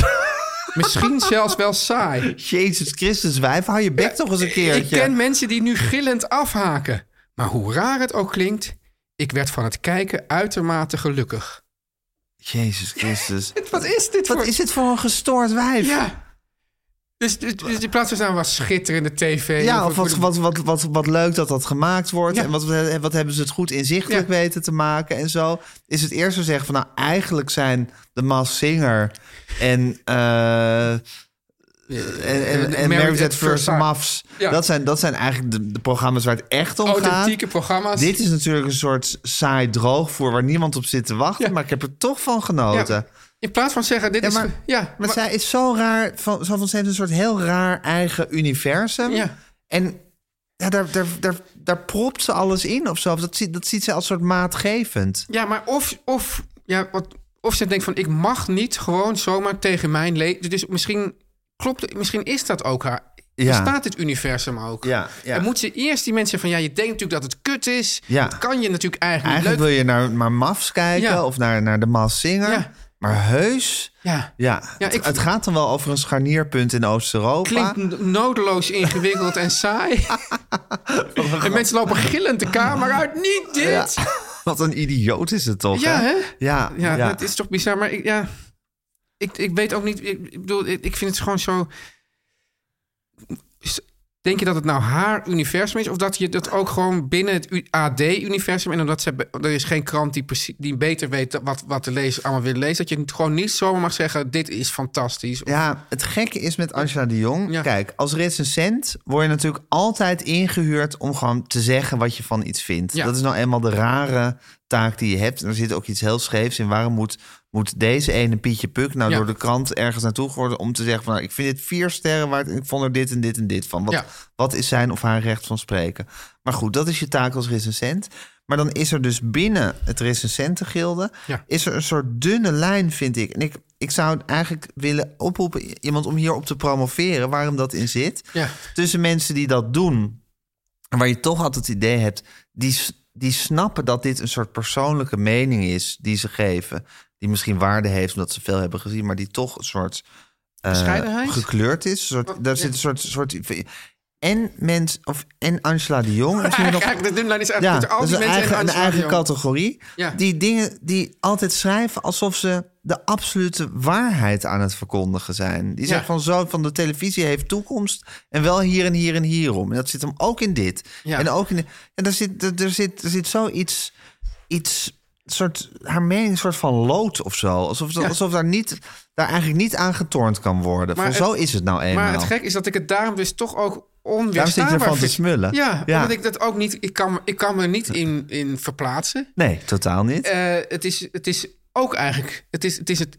Speaker 3: Misschien zelfs wel saai.
Speaker 4: Jezus Christus, wijf, hou je bek toch eens een
Speaker 3: Ik
Speaker 4: keertje.
Speaker 3: ken mensen die nu gillend afhaken. Maar hoe raar het ook klinkt, ik werd van het kijken uitermate gelukkig.
Speaker 4: Jezus Christus.
Speaker 3: Wat is dit
Speaker 4: Wat
Speaker 3: voor...
Speaker 4: is dit voor een gestoord wijf?
Speaker 3: Ja. Dus, dus, dus in plaats van staan was schitterende tv.
Speaker 4: Ja, of wat, wat, wat, wat, wat leuk dat dat gemaakt wordt.
Speaker 3: Ja.
Speaker 4: En wat, wat hebben ze het goed inzichtelijk
Speaker 3: Ja.
Speaker 4: weten te maken en zo. Is het eerst zo zeggen van nou, eigenlijk zijn de Maas Singer en, eh en, en, en Married at First
Speaker 3: Sight.
Speaker 4: Mavs.
Speaker 3: Ja.
Speaker 4: Dat, zijn, dat zijn eigenlijk de, de programma's waar het echt om
Speaker 3: Authentieke
Speaker 4: gaat.
Speaker 3: programma's.
Speaker 4: Dit is natuurlijk een soort saai droogvoer waar niemand op zit te wachten.
Speaker 3: Ja.
Speaker 4: Maar ik heb er toch van genoten.
Speaker 3: Ja. In plaats van zeggen, dit
Speaker 4: Ja,
Speaker 3: is...
Speaker 4: maar,
Speaker 3: ja,
Speaker 4: maar,
Speaker 3: maar-
Speaker 4: zij is zo raar. Van, zo van, ze heeft een soort heel raar eigen universum.
Speaker 3: Ja.
Speaker 4: En ja, daar, daar, daar, daar propt ze alles in of zo. Of Dat, ziet- dat ziet ze als soort maatgevend.
Speaker 3: Ja, maar of, of, ja, wat, of ze denkt van ik mag niet gewoon zomaar tegen mijn leven. Dus misschien klopt, het- misschien is dat ook haar.
Speaker 4: Ja.
Speaker 3: Bestaat dit universum ook?
Speaker 4: Ja, ja.
Speaker 3: En moet ze eerst die mensen van ja, je denkt natuurlijk dat het kut is.
Speaker 4: Ja.
Speaker 3: Dat kan je natuurlijk eigenlijk,
Speaker 4: Eigenlijk
Speaker 3: niet
Speaker 4: wil je naar, naar Mafs kijken
Speaker 3: Ja.
Speaker 4: of naar, naar de Mas Singer.
Speaker 3: Ja.
Speaker 4: Maar heus...
Speaker 3: leuk. Ja.
Speaker 4: Ja,
Speaker 3: Ja,
Speaker 4: het,
Speaker 3: ik-
Speaker 4: het gaat dan wel over een scharnierpunt in Oost-Europa.
Speaker 3: Klinkt n- nodeloos ingewikkeld en saai. en mensen lopen gillend de kamer uit. Niet
Speaker 4: Ja.
Speaker 3: dit!
Speaker 4: Wat een idioot is het toch,
Speaker 3: Ja, hè?
Speaker 4: Ja,
Speaker 3: Ja,
Speaker 4: ja,
Speaker 3: dat is toch bizar. Maar ik, ja, ik, ik weet ook niet. Ik, ik bedoel, ik, ik vind het gewoon zo. S- Denk je dat het nou haar universum is? Of dat je dat ook gewoon binnen het AD-universum... en omdat ze, er is geen krant die, precie- die beter weet wat, wat de lezers allemaal willen lezen... dat je het gewoon niet zomaar mag zeggen, dit is fantastisch.
Speaker 4: Ja, het gekke is met Angela de Jong.
Speaker 3: Ja.
Speaker 4: Kijk, als recensent word je natuurlijk altijd ingehuurd om gewoon te zeggen wat je van iets vindt.
Speaker 3: Ja.
Speaker 4: Dat is nou eenmaal de rare taak die je hebt. En er zit ook iets heel scheefs in. Waarom moet, moet deze ene Pietje Puk nou
Speaker 3: Ja.
Speaker 4: door de krant ergens naartoe worden om te zeggen van nou, ik vind dit vier sterren waard en ik vond er dit en dit en dit van. Wat,
Speaker 3: Ja.
Speaker 4: wat is zijn of haar recht van spreken? Maar goed, dat is je taak als recensent. Maar dan is er dus binnen het recensentengilde...
Speaker 3: Ja.
Speaker 4: is er een soort dunne lijn, vind ik. En ik, ik zou eigenlijk willen oproepen iemand om hierop te promoveren... waarom dat in zit.
Speaker 3: Ja.
Speaker 4: Tussen mensen die dat doen... en waar je toch altijd het idee hebt... Die, s- die snappen dat dit een soort persoonlijke mening is die ze geven... die misschien waarde heeft omdat ze veel hebben gezien... maar die toch een soort eh,
Speaker 3: Bescheidenheid?
Speaker 4: gekleurd is. Een soort, daar
Speaker 3: ja.
Speaker 4: zit een soort, soort en, mens, of, en Angela de Jong. Er zijn nog-
Speaker 3: Eigenlijk, de dunlijn nou, is
Speaker 4: ja,
Speaker 3: eigenlijk tussen
Speaker 4: dat
Speaker 3: al
Speaker 4: is
Speaker 3: die
Speaker 4: een
Speaker 3: mensen
Speaker 4: eigen,
Speaker 3: en
Speaker 4: een
Speaker 3: Angela
Speaker 4: eigen
Speaker 3: de Jong.
Speaker 4: categorie.
Speaker 3: Ja.
Speaker 4: Die dingen die altijd schrijven alsof ze de absolute waarheid aan het verkondigen zijn. Die
Speaker 3: Ja.
Speaker 4: zeggen van zo, van de televisie heeft toekomst... en wel hier en hier en hierom. En dat zit hem ook in dit.
Speaker 3: Ja.
Speaker 4: En ook in... En daar zit, er, er zit, er zit zoiets... Iets, soort, haar mening een soort van lood of zo. Alsof,
Speaker 3: Ja.
Speaker 4: alsof daar, niet, daar eigenlijk niet aan getornd kan worden.
Speaker 3: Maar
Speaker 4: Van,
Speaker 3: het-
Speaker 4: zo is het nou eenmaal.
Speaker 3: Maar het gek is dat ik het daarom dus toch ook onweerstaanbaar
Speaker 4: Daarom zit je ervan te
Speaker 3: vind.
Speaker 4: smullen.
Speaker 3: Ja,
Speaker 4: Ja.
Speaker 3: omdat ik dat ook niet... Ik kan, ik kan me niet in, in verplaatsen.
Speaker 4: Nee, totaal niet.
Speaker 3: Eh, het, is, het is ook eigenlijk... Het is, het is het,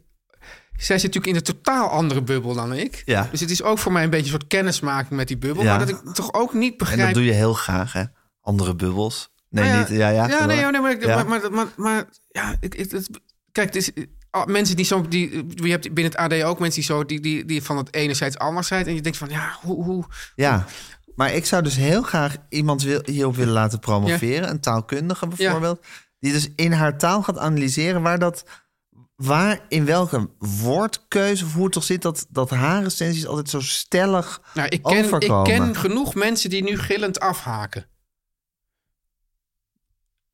Speaker 3: zij zit natuurlijk in een totaal andere bubbel dan ik.
Speaker 4: Ja.
Speaker 3: Dus het is ook voor mij een beetje een soort kennismaking met die bubbel.
Speaker 4: Ja.
Speaker 3: Maar dat ik toch ook niet
Speaker 4: En
Speaker 3: begrijp...
Speaker 4: dat doe je heel graag, hè? Andere bubbels. Nee,
Speaker 3: Nou
Speaker 4: niet. Ja, ja.
Speaker 3: nee,
Speaker 4: wel.
Speaker 3: ja, nee, maar, ik-
Speaker 4: Ja.
Speaker 3: maar, maar, maar, maar- ja, ik, ik- het- kijk, het is, ah, mensen die zo, die, je hebt binnen het AD ook mensen die zo, die, die, die van het enerzijds anderzijds, en je denkt van, ja, hoe, hoe
Speaker 4: Ja. Maar ik zou dus heel graag iemand wil, hierop willen laten promoveren. Een taalkundige bijvoorbeeld. Die dus in haar taal gaat analyseren waar dat... Waar, in welke woordkeuze of hoe het toch zit... dat, dat haar recensies altijd zo stellig
Speaker 3: nou, ik ken, ik
Speaker 4: overkomen.
Speaker 3: ken genoeg mensen die nu gillend afhaken.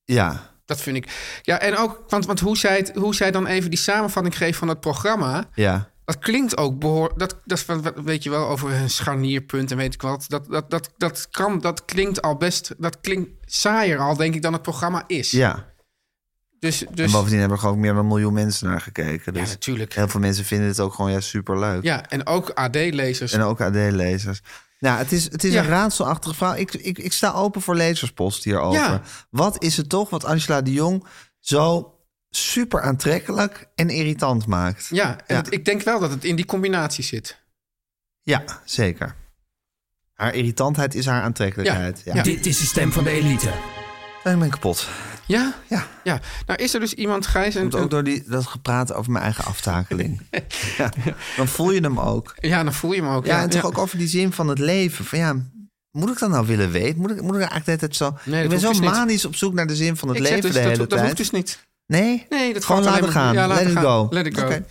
Speaker 4: Ja,
Speaker 3: Dat vind ik. Ja, en ook, want, want hoe, zij het, hoe zij dan even die samenvatting geeft van het programma,
Speaker 4: ja.
Speaker 3: dat klinkt ook behoorlijk. Dat, dat is van, weet je wel, over een scharnierpunt en weet ik wat. Dat, dat, dat, dat, kan, dat klinkt al best, dat klinkt saaier al, denk ik, dan het programma is.
Speaker 4: ja.
Speaker 3: Dus,
Speaker 4: En
Speaker 3: dus,
Speaker 4: bovendien hebben er gewoon meer dan een miljoen mensen naar gekeken.
Speaker 3: ja,
Speaker 4: Dus
Speaker 3: natuurlijk.
Speaker 4: heel veel mensen vinden het ook gewoon ja, superleuk.
Speaker 3: Ja, en ook AD-lezers.
Speaker 4: En ook AD-lezers. Nou, het is, het is
Speaker 3: Dus- Ja.
Speaker 4: een raadselachtige vraag. Ik, ik, ik sta open voor lezerspost hierover.
Speaker 3: Ja.
Speaker 4: Wat is het toch wat Angela de Jong zo super aantrekkelijk en irritant maakt?
Speaker 3: Ja, en
Speaker 4: Ja.
Speaker 3: het- ik denk wel dat het in die combinatie zit.
Speaker 4: Ja, zeker. Haar irritantheid is haar aantrekkelijkheid. Ja.
Speaker 3: Ja.
Speaker 9: Dit is de stem van de elite.
Speaker 4: Ja, Ik ben kapot.
Speaker 3: Ja?
Speaker 4: Ja.
Speaker 3: Ja. Nou, is er dus iemand, Gijs... En,
Speaker 4: Komt ook door die, dat gepraat over mijn eigen aftakeling. ja. Dan voel je hem ook.
Speaker 3: Ja, dan voel je hem ook.
Speaker 4: Ja, en toch ook over die zin van het leven. Van ja, moet ik dat nou willen weten? Moet ik, moet ik eigenlijk altijd zo...
Speaker 3: Nee, dat
Speaker 4: ik ben
Speaker 3: hoeft
Speaker 4: zo
Speaker 3: dus niet.
Speaker 4: manisch op zoek naar de zin van het
Speaker 3: Ik zeg
Speaker 4: leven
Speaker 3: dus,
Speaker 4: de hele
Speaker 3: dat, dat
Speaker 4: tijd.
Speaker 3: hoeft dus niet.
Speaker 4: Nee?
Speaker 3: Nee, dat
Speaker 4: Gewoon
Speaker 3: gaat
Speaker 4: laten
Speaker 3: alleen maar-
Speaker 4: gaan.
Speaker 3: Ja,
Speaker 4: Let
Speaker 3: laten
Speaker 4: it
Speaker 3: gaan.
Speaker 4: go.
Speaker 3: Let it go.
Speaker 4: Oké.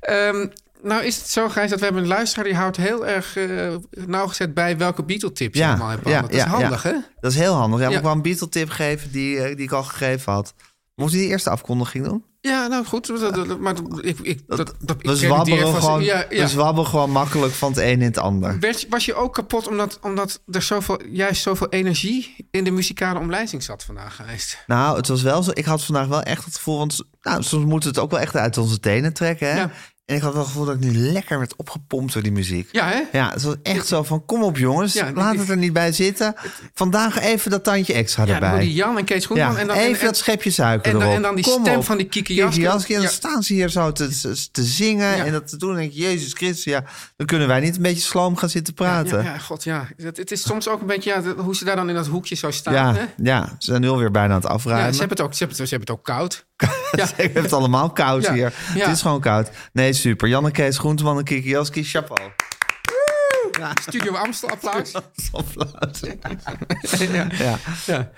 Speaker 3: Ehm, nou is het zo, Gijs, dat we hebben een luisteraar... die houdt heel erg eh, nauwgezet bij welke Beatle-tips je allemaal hebt. behandeld. dat is handig,
Speaker 4: ja.
Speaker 3: hè?
Speaker 4: Dat is heel handig. Ja,
Speaker 3: Ja.
Speaker 4: Ik wou een Beatle-tip geven die, eh, die ik al gegeven had. Moest je die eerste afkondiging doen?
Speaker 3: Ja, nou goed. dat- dat- dat- maar dat- ik, ik, dat, dat, ik
Speaker 4: we,
Speaker 3: pretendeer
Speaker 4: zwabberen
Speaker 3: vast-
Speaker 4: gewoon,
Speaker 3: Ja, ja.
Speaker 4: we zwabberen gewoon makkelijk van het een in het ander.
Speaker 3: Werd je- was je ook kapot omdat, omdat er zoveel, juist zoveel energie in de muzikale omlijsting zat vandaag, Gijs?
Speaker 4: Nou, het was wel zo. Ik had vandaag wel echt het gevoel, want nou, soms moeten we het ook wel echt uit onze tenen trekken. Hè?
Speaker 3: Ja.
Speaker 4: En ik had wel het gevoel dat ik nu lekker werd opgepompt door die muziek.
Speaker 3: Ja, hè?
Speaker 4: Ja, het was echt zo van, kom op jongens,
Speaker 3: Ja,
Speaker 4: laat
Speaker 3: die-
Speaker 4: het er niet bij zitten. Vandaag even dat tandje extra
Speaker 3: Ja, dan
Speaker 4: erbij.
Speaker 3: door die Jan en Kees Groenman.
Speaker 4: Ja,
Speaker 3: en dan,
Speaker 4: even
Speaker 3: en- en-
Speaker 4: dat schepje suiker
Speaker 3: en dan-
Speaker 4: erop.
Speaker 3: en dan die
Speaker 4: Kom
Speaker 3: stem
Speaker 4: op.
Speaker 3: van die Kiki Jaski.
Speaker 4: Jaski. En dan
Speaker 3: Ja.
Speaker 4: staan ze hier zo te, te zingen
Speaker 3: Ja.
Speaker 4: en dat te doen. En denk ik, Jezus Christus, ja, dan kunnen wij niet een beetje sloom gaan zitten praten.
Speaker 3: Ja,
Speaker 4: Ja,
Speaker 3: ja, god, ja. Het, het is soms ook een beetje ja, dat- hoe ze daar dan in dat hoekje zo staan. hè?
Speaker 4: ja, ze zijn nu alweer bijna aan het
Speaker 3: Ja,
Speaker 4: afruimen.
Speaker 3: ze, hebben het ook, ze, hebben het, ze hebben het ook koud.
Speaker 4: Ik heb het allemaal koud
Speaker 3: Ja,
Speaker 4: hier.
Speaker 3: ja.
Speaker 4: Het is gewoon koud. Nee, super. Janne Kees Groenteman en Kiki Jaski, chapeau.
Speaker 3: Studio Amstel, applaus.
Speaker 4: Applaus.
Speaker 3: ja.
Speaker 4: Ja.
Speaker 3: Ja,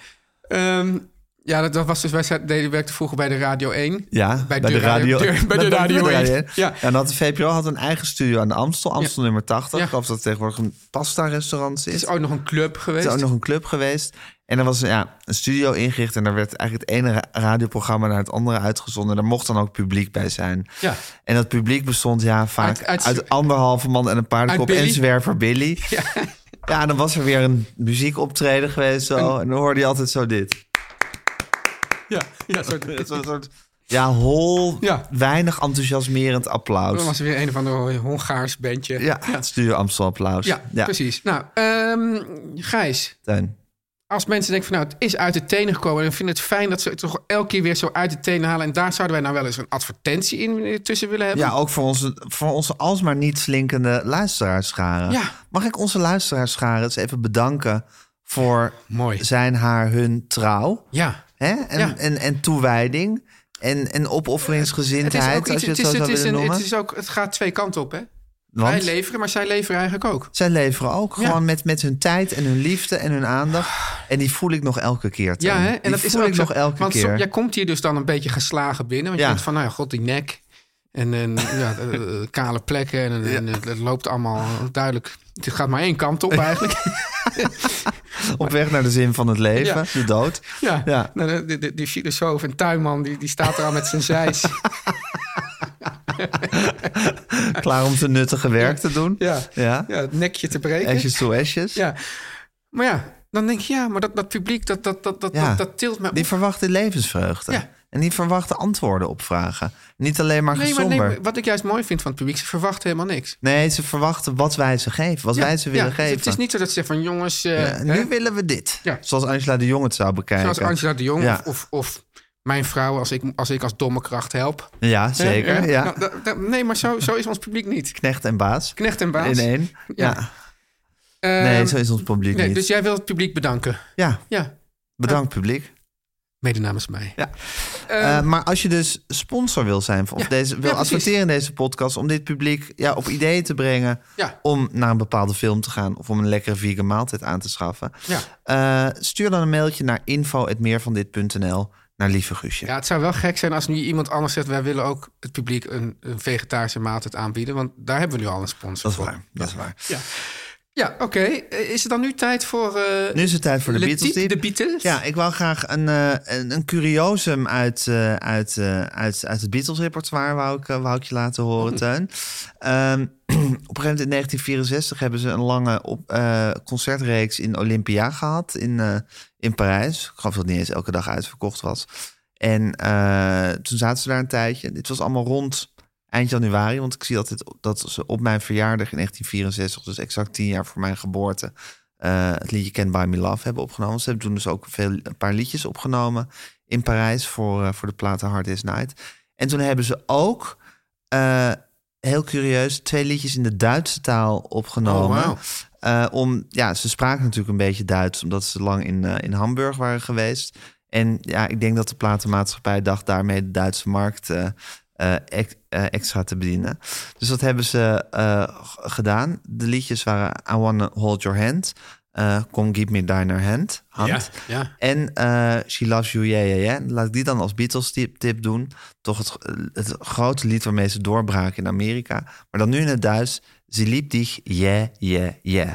Speaker 3: Ehm, ja dat, dat was dus, wij zijn- deden, werkten vroeger bij de Radio 1.
Speaker 4: Ja, bij, de radio.
Speaker 3: deur- bij de Radio 1.
Speaker 4: Ja.
Speaker 3: Ja.
Speaker 4: En dat de VPRO had een eigen studio aan de Amstel, Amstel nummer 80.
Speaker 3: Ja.
Speaker 4: Ik geloof dat het tegenwoordig een pasta-restaurant
Speaker 3: Het
Speaker 4: is.
Speaker 3: is ook nog een club
Speaker 4: Het
Speaker 3: geweest.
Speaker 4: is ook nog een club geweest. En er was ja, een studio ingericht. En daar werd eigenlijk het ene ra- radioprogramma naar het andere uitgezonden. En daar mocht dan ook publiek bij zijn.
Speaker 3: Ja.
Speaker 4: En dat publiek bestond ja, vaak uit,
Speaker 3: Uit- uit-
Speaker 4: anderhalve man en een paardenkop
Speaker 3: Uit Billy.
Speaker 4: en zwerver Billy. Ja. en dan was er weer een muziekoptreden geweest. Zo. En dan hoorde je altijd zo dit.
Speaker 3: Ja, ja, zo,
Speaker 4: Het was een soort, ja, hol,
Speaker 3: Ja.
Speaker 4: weinig enthousiasmerend applaus.
Speaker 3: Dan was er weer een of ander Hongaars bandje.
Speaker 4: Ja, het studio Amstel applaus.
Speaker 3: Ja, precies. Nou, ehm, Gijs,
Speaker 4: Teun.
Speaker 3: als mensen denken van nou, het is uit de tenen gekomen... en vinden het fijn dat ze het toch elke keer weer zo uit de tenen halen... en daar zouden wij nou wel eens een advertentie in eh, tussen willen hebben.
Speaker 4: Ja, ook voor onze, voor onze alsmaar niet slinkende luisteraarscharen.
Speaker 3: Ja.
Speaker 4: Mag ik onze luisteraarscharen eens even bedanken voor
Speaker 3: Mooi.
Speaker 4: zijn haar hun trouw
Speaker 3: Ja.
Speaker 4: hè? En,
Speaker 3: Ja.
Speaker 4: en, en toewijding en, en opofferingsgezindheid, als je het,
Speaker 3: het, is,
Speaker 4: zo
Speaker 3: het,
Speaker 4: zou
Speaker 3: is
Speaker 4: willen
Speaker 3: een,
Speaker 4: noemen.
Speaker 3: het, is ook, het gaat twee kanten op, hè? Wij
Speaker 4: Want
Speaker 3: leveren, maar zij leveren eigenlijk ook.
Speaker 4: zij leveren ook
Speaker 3: Ja.
Speaker 4: gewoon met, met hun tijd en hun liefde en hun aandacht. En die voel ik nog elke keer. Teun.
Speaker 3: Ja, hè? En
Speaker 4: die
Speaker 3: dat is
Speaker 4: voel
Speaker 3: ook
Speaker 4: ik
Speaker 3: zo.
Speaker 4: nog elke
Speaker 3: want
Speaker 4: keer.
Speaker 3: zo- jij komt hier dus dan een beetje geslagen binnen. Want
Speaker 4: Ja.
Speaker 3: je denkt van, nou ja, god, die nek. En, en ja, eh, eh, kale plekken. En, en het, het loopt allemaal duidelijk. Het gaat maar één kant op eigenlijk.
Speaker 4: Op weg naar de zin van het leven,
Speaker 3: Ja.
Speaker 4: de dood.
Speaker 3: Ja,
Speaker 4: Ja.
Speaker 3: Nou, de, de, de- die filosoof en tuinman, die, die staat er al met zijn zeis.
Speaker 4: Klaar om zijn nuttige werk te doen.
Speaker 3: Ja.
Speaker 4: Ja.
Speaker 3: Ja, het nekje te breken.
Speaker 4: Ashes to ashes.
Speaker 3: Ja. Maar ja, dan denk je, ja, maar dat, dat publiek, dat, dat, dat, dat,
Speaker 4: Ja.
Speaker 3: dat, dat tilt me op.
Speaker 4: Die verwachten levensvreugde.
Speaker 3: Ja.
Speaker 4: En die verwachten antwoorden op vragen. Niet alleen maar
Speaker 3: Nee, maar
Speaker 4: gezonder.
Speaker 3: nee, wat ik juist mooi vind van het publiek, ze verwachten helemaal niks.
Speaker 4: Nee, ze verwachten wat wij ze geven. Wat
Speaker 3: Ja,
Speaker 4: wij ze
Speaker 3: ja,
Speaker 4: willen
Speaker 3: dus
Speaker 4: geven.
Speaker 3: Het is niet zo dat ze zeggen van jongens, eh,
Speaker 4: Ja,
Speaker 3: hè,
Speaker 4: nu willen we dit.
Speaker 3: Ja.
Speaker 4: Zoals Angela de Jong het zou bekijken.
Speaker 3: zoals Angela de Jong
Speaker 4: Ja,
Speaker 3: of, of, of mijn vrouw als ik als, ik als domme kracht help.
Speaker 4: ja
Speaker 3: Hè,
Speaker 4: zeker.
Speaker 3: hè?
Speaker 4: ja.
Speaker 3: Nou, da- da- nee, maar zo, zo is ons publiek niet.
Speaker 4: Knecht en baas.
Speaker 3: Knecht en baas.
Speaker 4: In één.
Speaker 3: Ja.
Speaker 4: Ja.
Speaker 3: Ehm,
Speaker 4: Nee, zo is ons publiek
Speaker 3: nee,
Speaker 4: niet.
Speaker 3: Dus jij wil het publiek bedanken.
Speaker 4: Ja,
Speaker 3: Ja,
Speaker 4: bedankt publiek.
Speaker 3: mede namens mij.
Speaker 4: Ja.
Speaker 3: Ehm,
Speaker 4: Eh, maar als je dus sponsor wil zijn of
Speaker 3: Ja,
Speaker 4: deze, wil
Speaker 3: ja, precies.
Speaker 4: adverteren in deze podcast om dit publiek ja, op ideeën te brengen
Speaker 3: Ja.
Speaker 4: om naar een bepaalde film te gaan of om een lekkere vegan maaltijd aan te schaffen,
Speaker 3: Ja.
Speaker 4: eh, stuur dan een mailtje naar info@meervandit.nl naar lieve Guusje.
Speaker 3: Ja, het zou wel gek zijn als nu iemand anders zegt... wij willen ook het publiek een, een vegetarische maaltijd aanbieden. Want daar hebben we nu al een sponsor
Speaker 4: dat is
Speaker 3: voor.
Speaker 4: waar. Dat is waar.
Speaker 3: Ja, ja oké. Eh, Is het dan nu tijd voor... eh,
Speaker 4: Nu is het tijd voor de
Speaker 3: Le
Speaker 4: Beatles.
Speaker 3: Type
Speaker 4: tip.
Speaker 3: de Beatles?
Speaker 4: Ja, ik wou graag een, eh, een, een curiosum uit, eh, uit, eh, uit, uit het Beatles repertoire wou ik, eh, wou ik je laten horen, Teun. Ehm, op een gegeven moment in 1964 hebben ze een lange op, eh, concertreeks in Olympia gehad in, eh, in Parijs. Ik geloof dat het niet eens elke dag uitverkocht was. En eh, toen zaten ze daar een tijdje. Dit was allemaal rond eind januari, want ik zie altijd dat ze op mijn verjaardag in 1964, dus exact tien jaar voor mijn geboorte, eh, het liedje Can Buy Me Love hebben opgenomen. Ze hebben toen dus ook veel, een paar liedjes opgenomen in Parijs voor, eh, voor de platen Hard Day's Night. En toen hebben ze ook, eh, heel curieus, twee liedjes in de Duitse taal opgenomen.
Speaker 3: Oh, wauw.
Speaker 4: Eh, om, ja, ze spraken natuurlijk een beetje Duits, omdat ze lang in, eh, in Hamburg waren geweest. En ja, ik denk dat de platenmaatschappij dacht daarmee de Duitse markt eh, eh, ex- eh, extra te bedienen. Dus dat hebben ze eh, g- gedaan. De liedjes waren I Wanna Hold Your Hand, eh, Come Give Me Diner Hand, hand.
Speaker 3: Ja, ja.
Speaker 4: en eh, She Loves You, Yeah, Yeah, Yeah. Laat ik die dan als Beatles tip, tip doen. Toch het, het grote lied waarmee ze doorbraken in Amerika. Maar dan nu in het Duits, Ze liep dich, Yeah, Yeah, Yeah.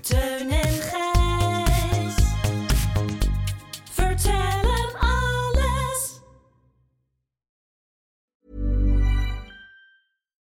Speaker 7: Teun en Gijs. Vertel hem alles.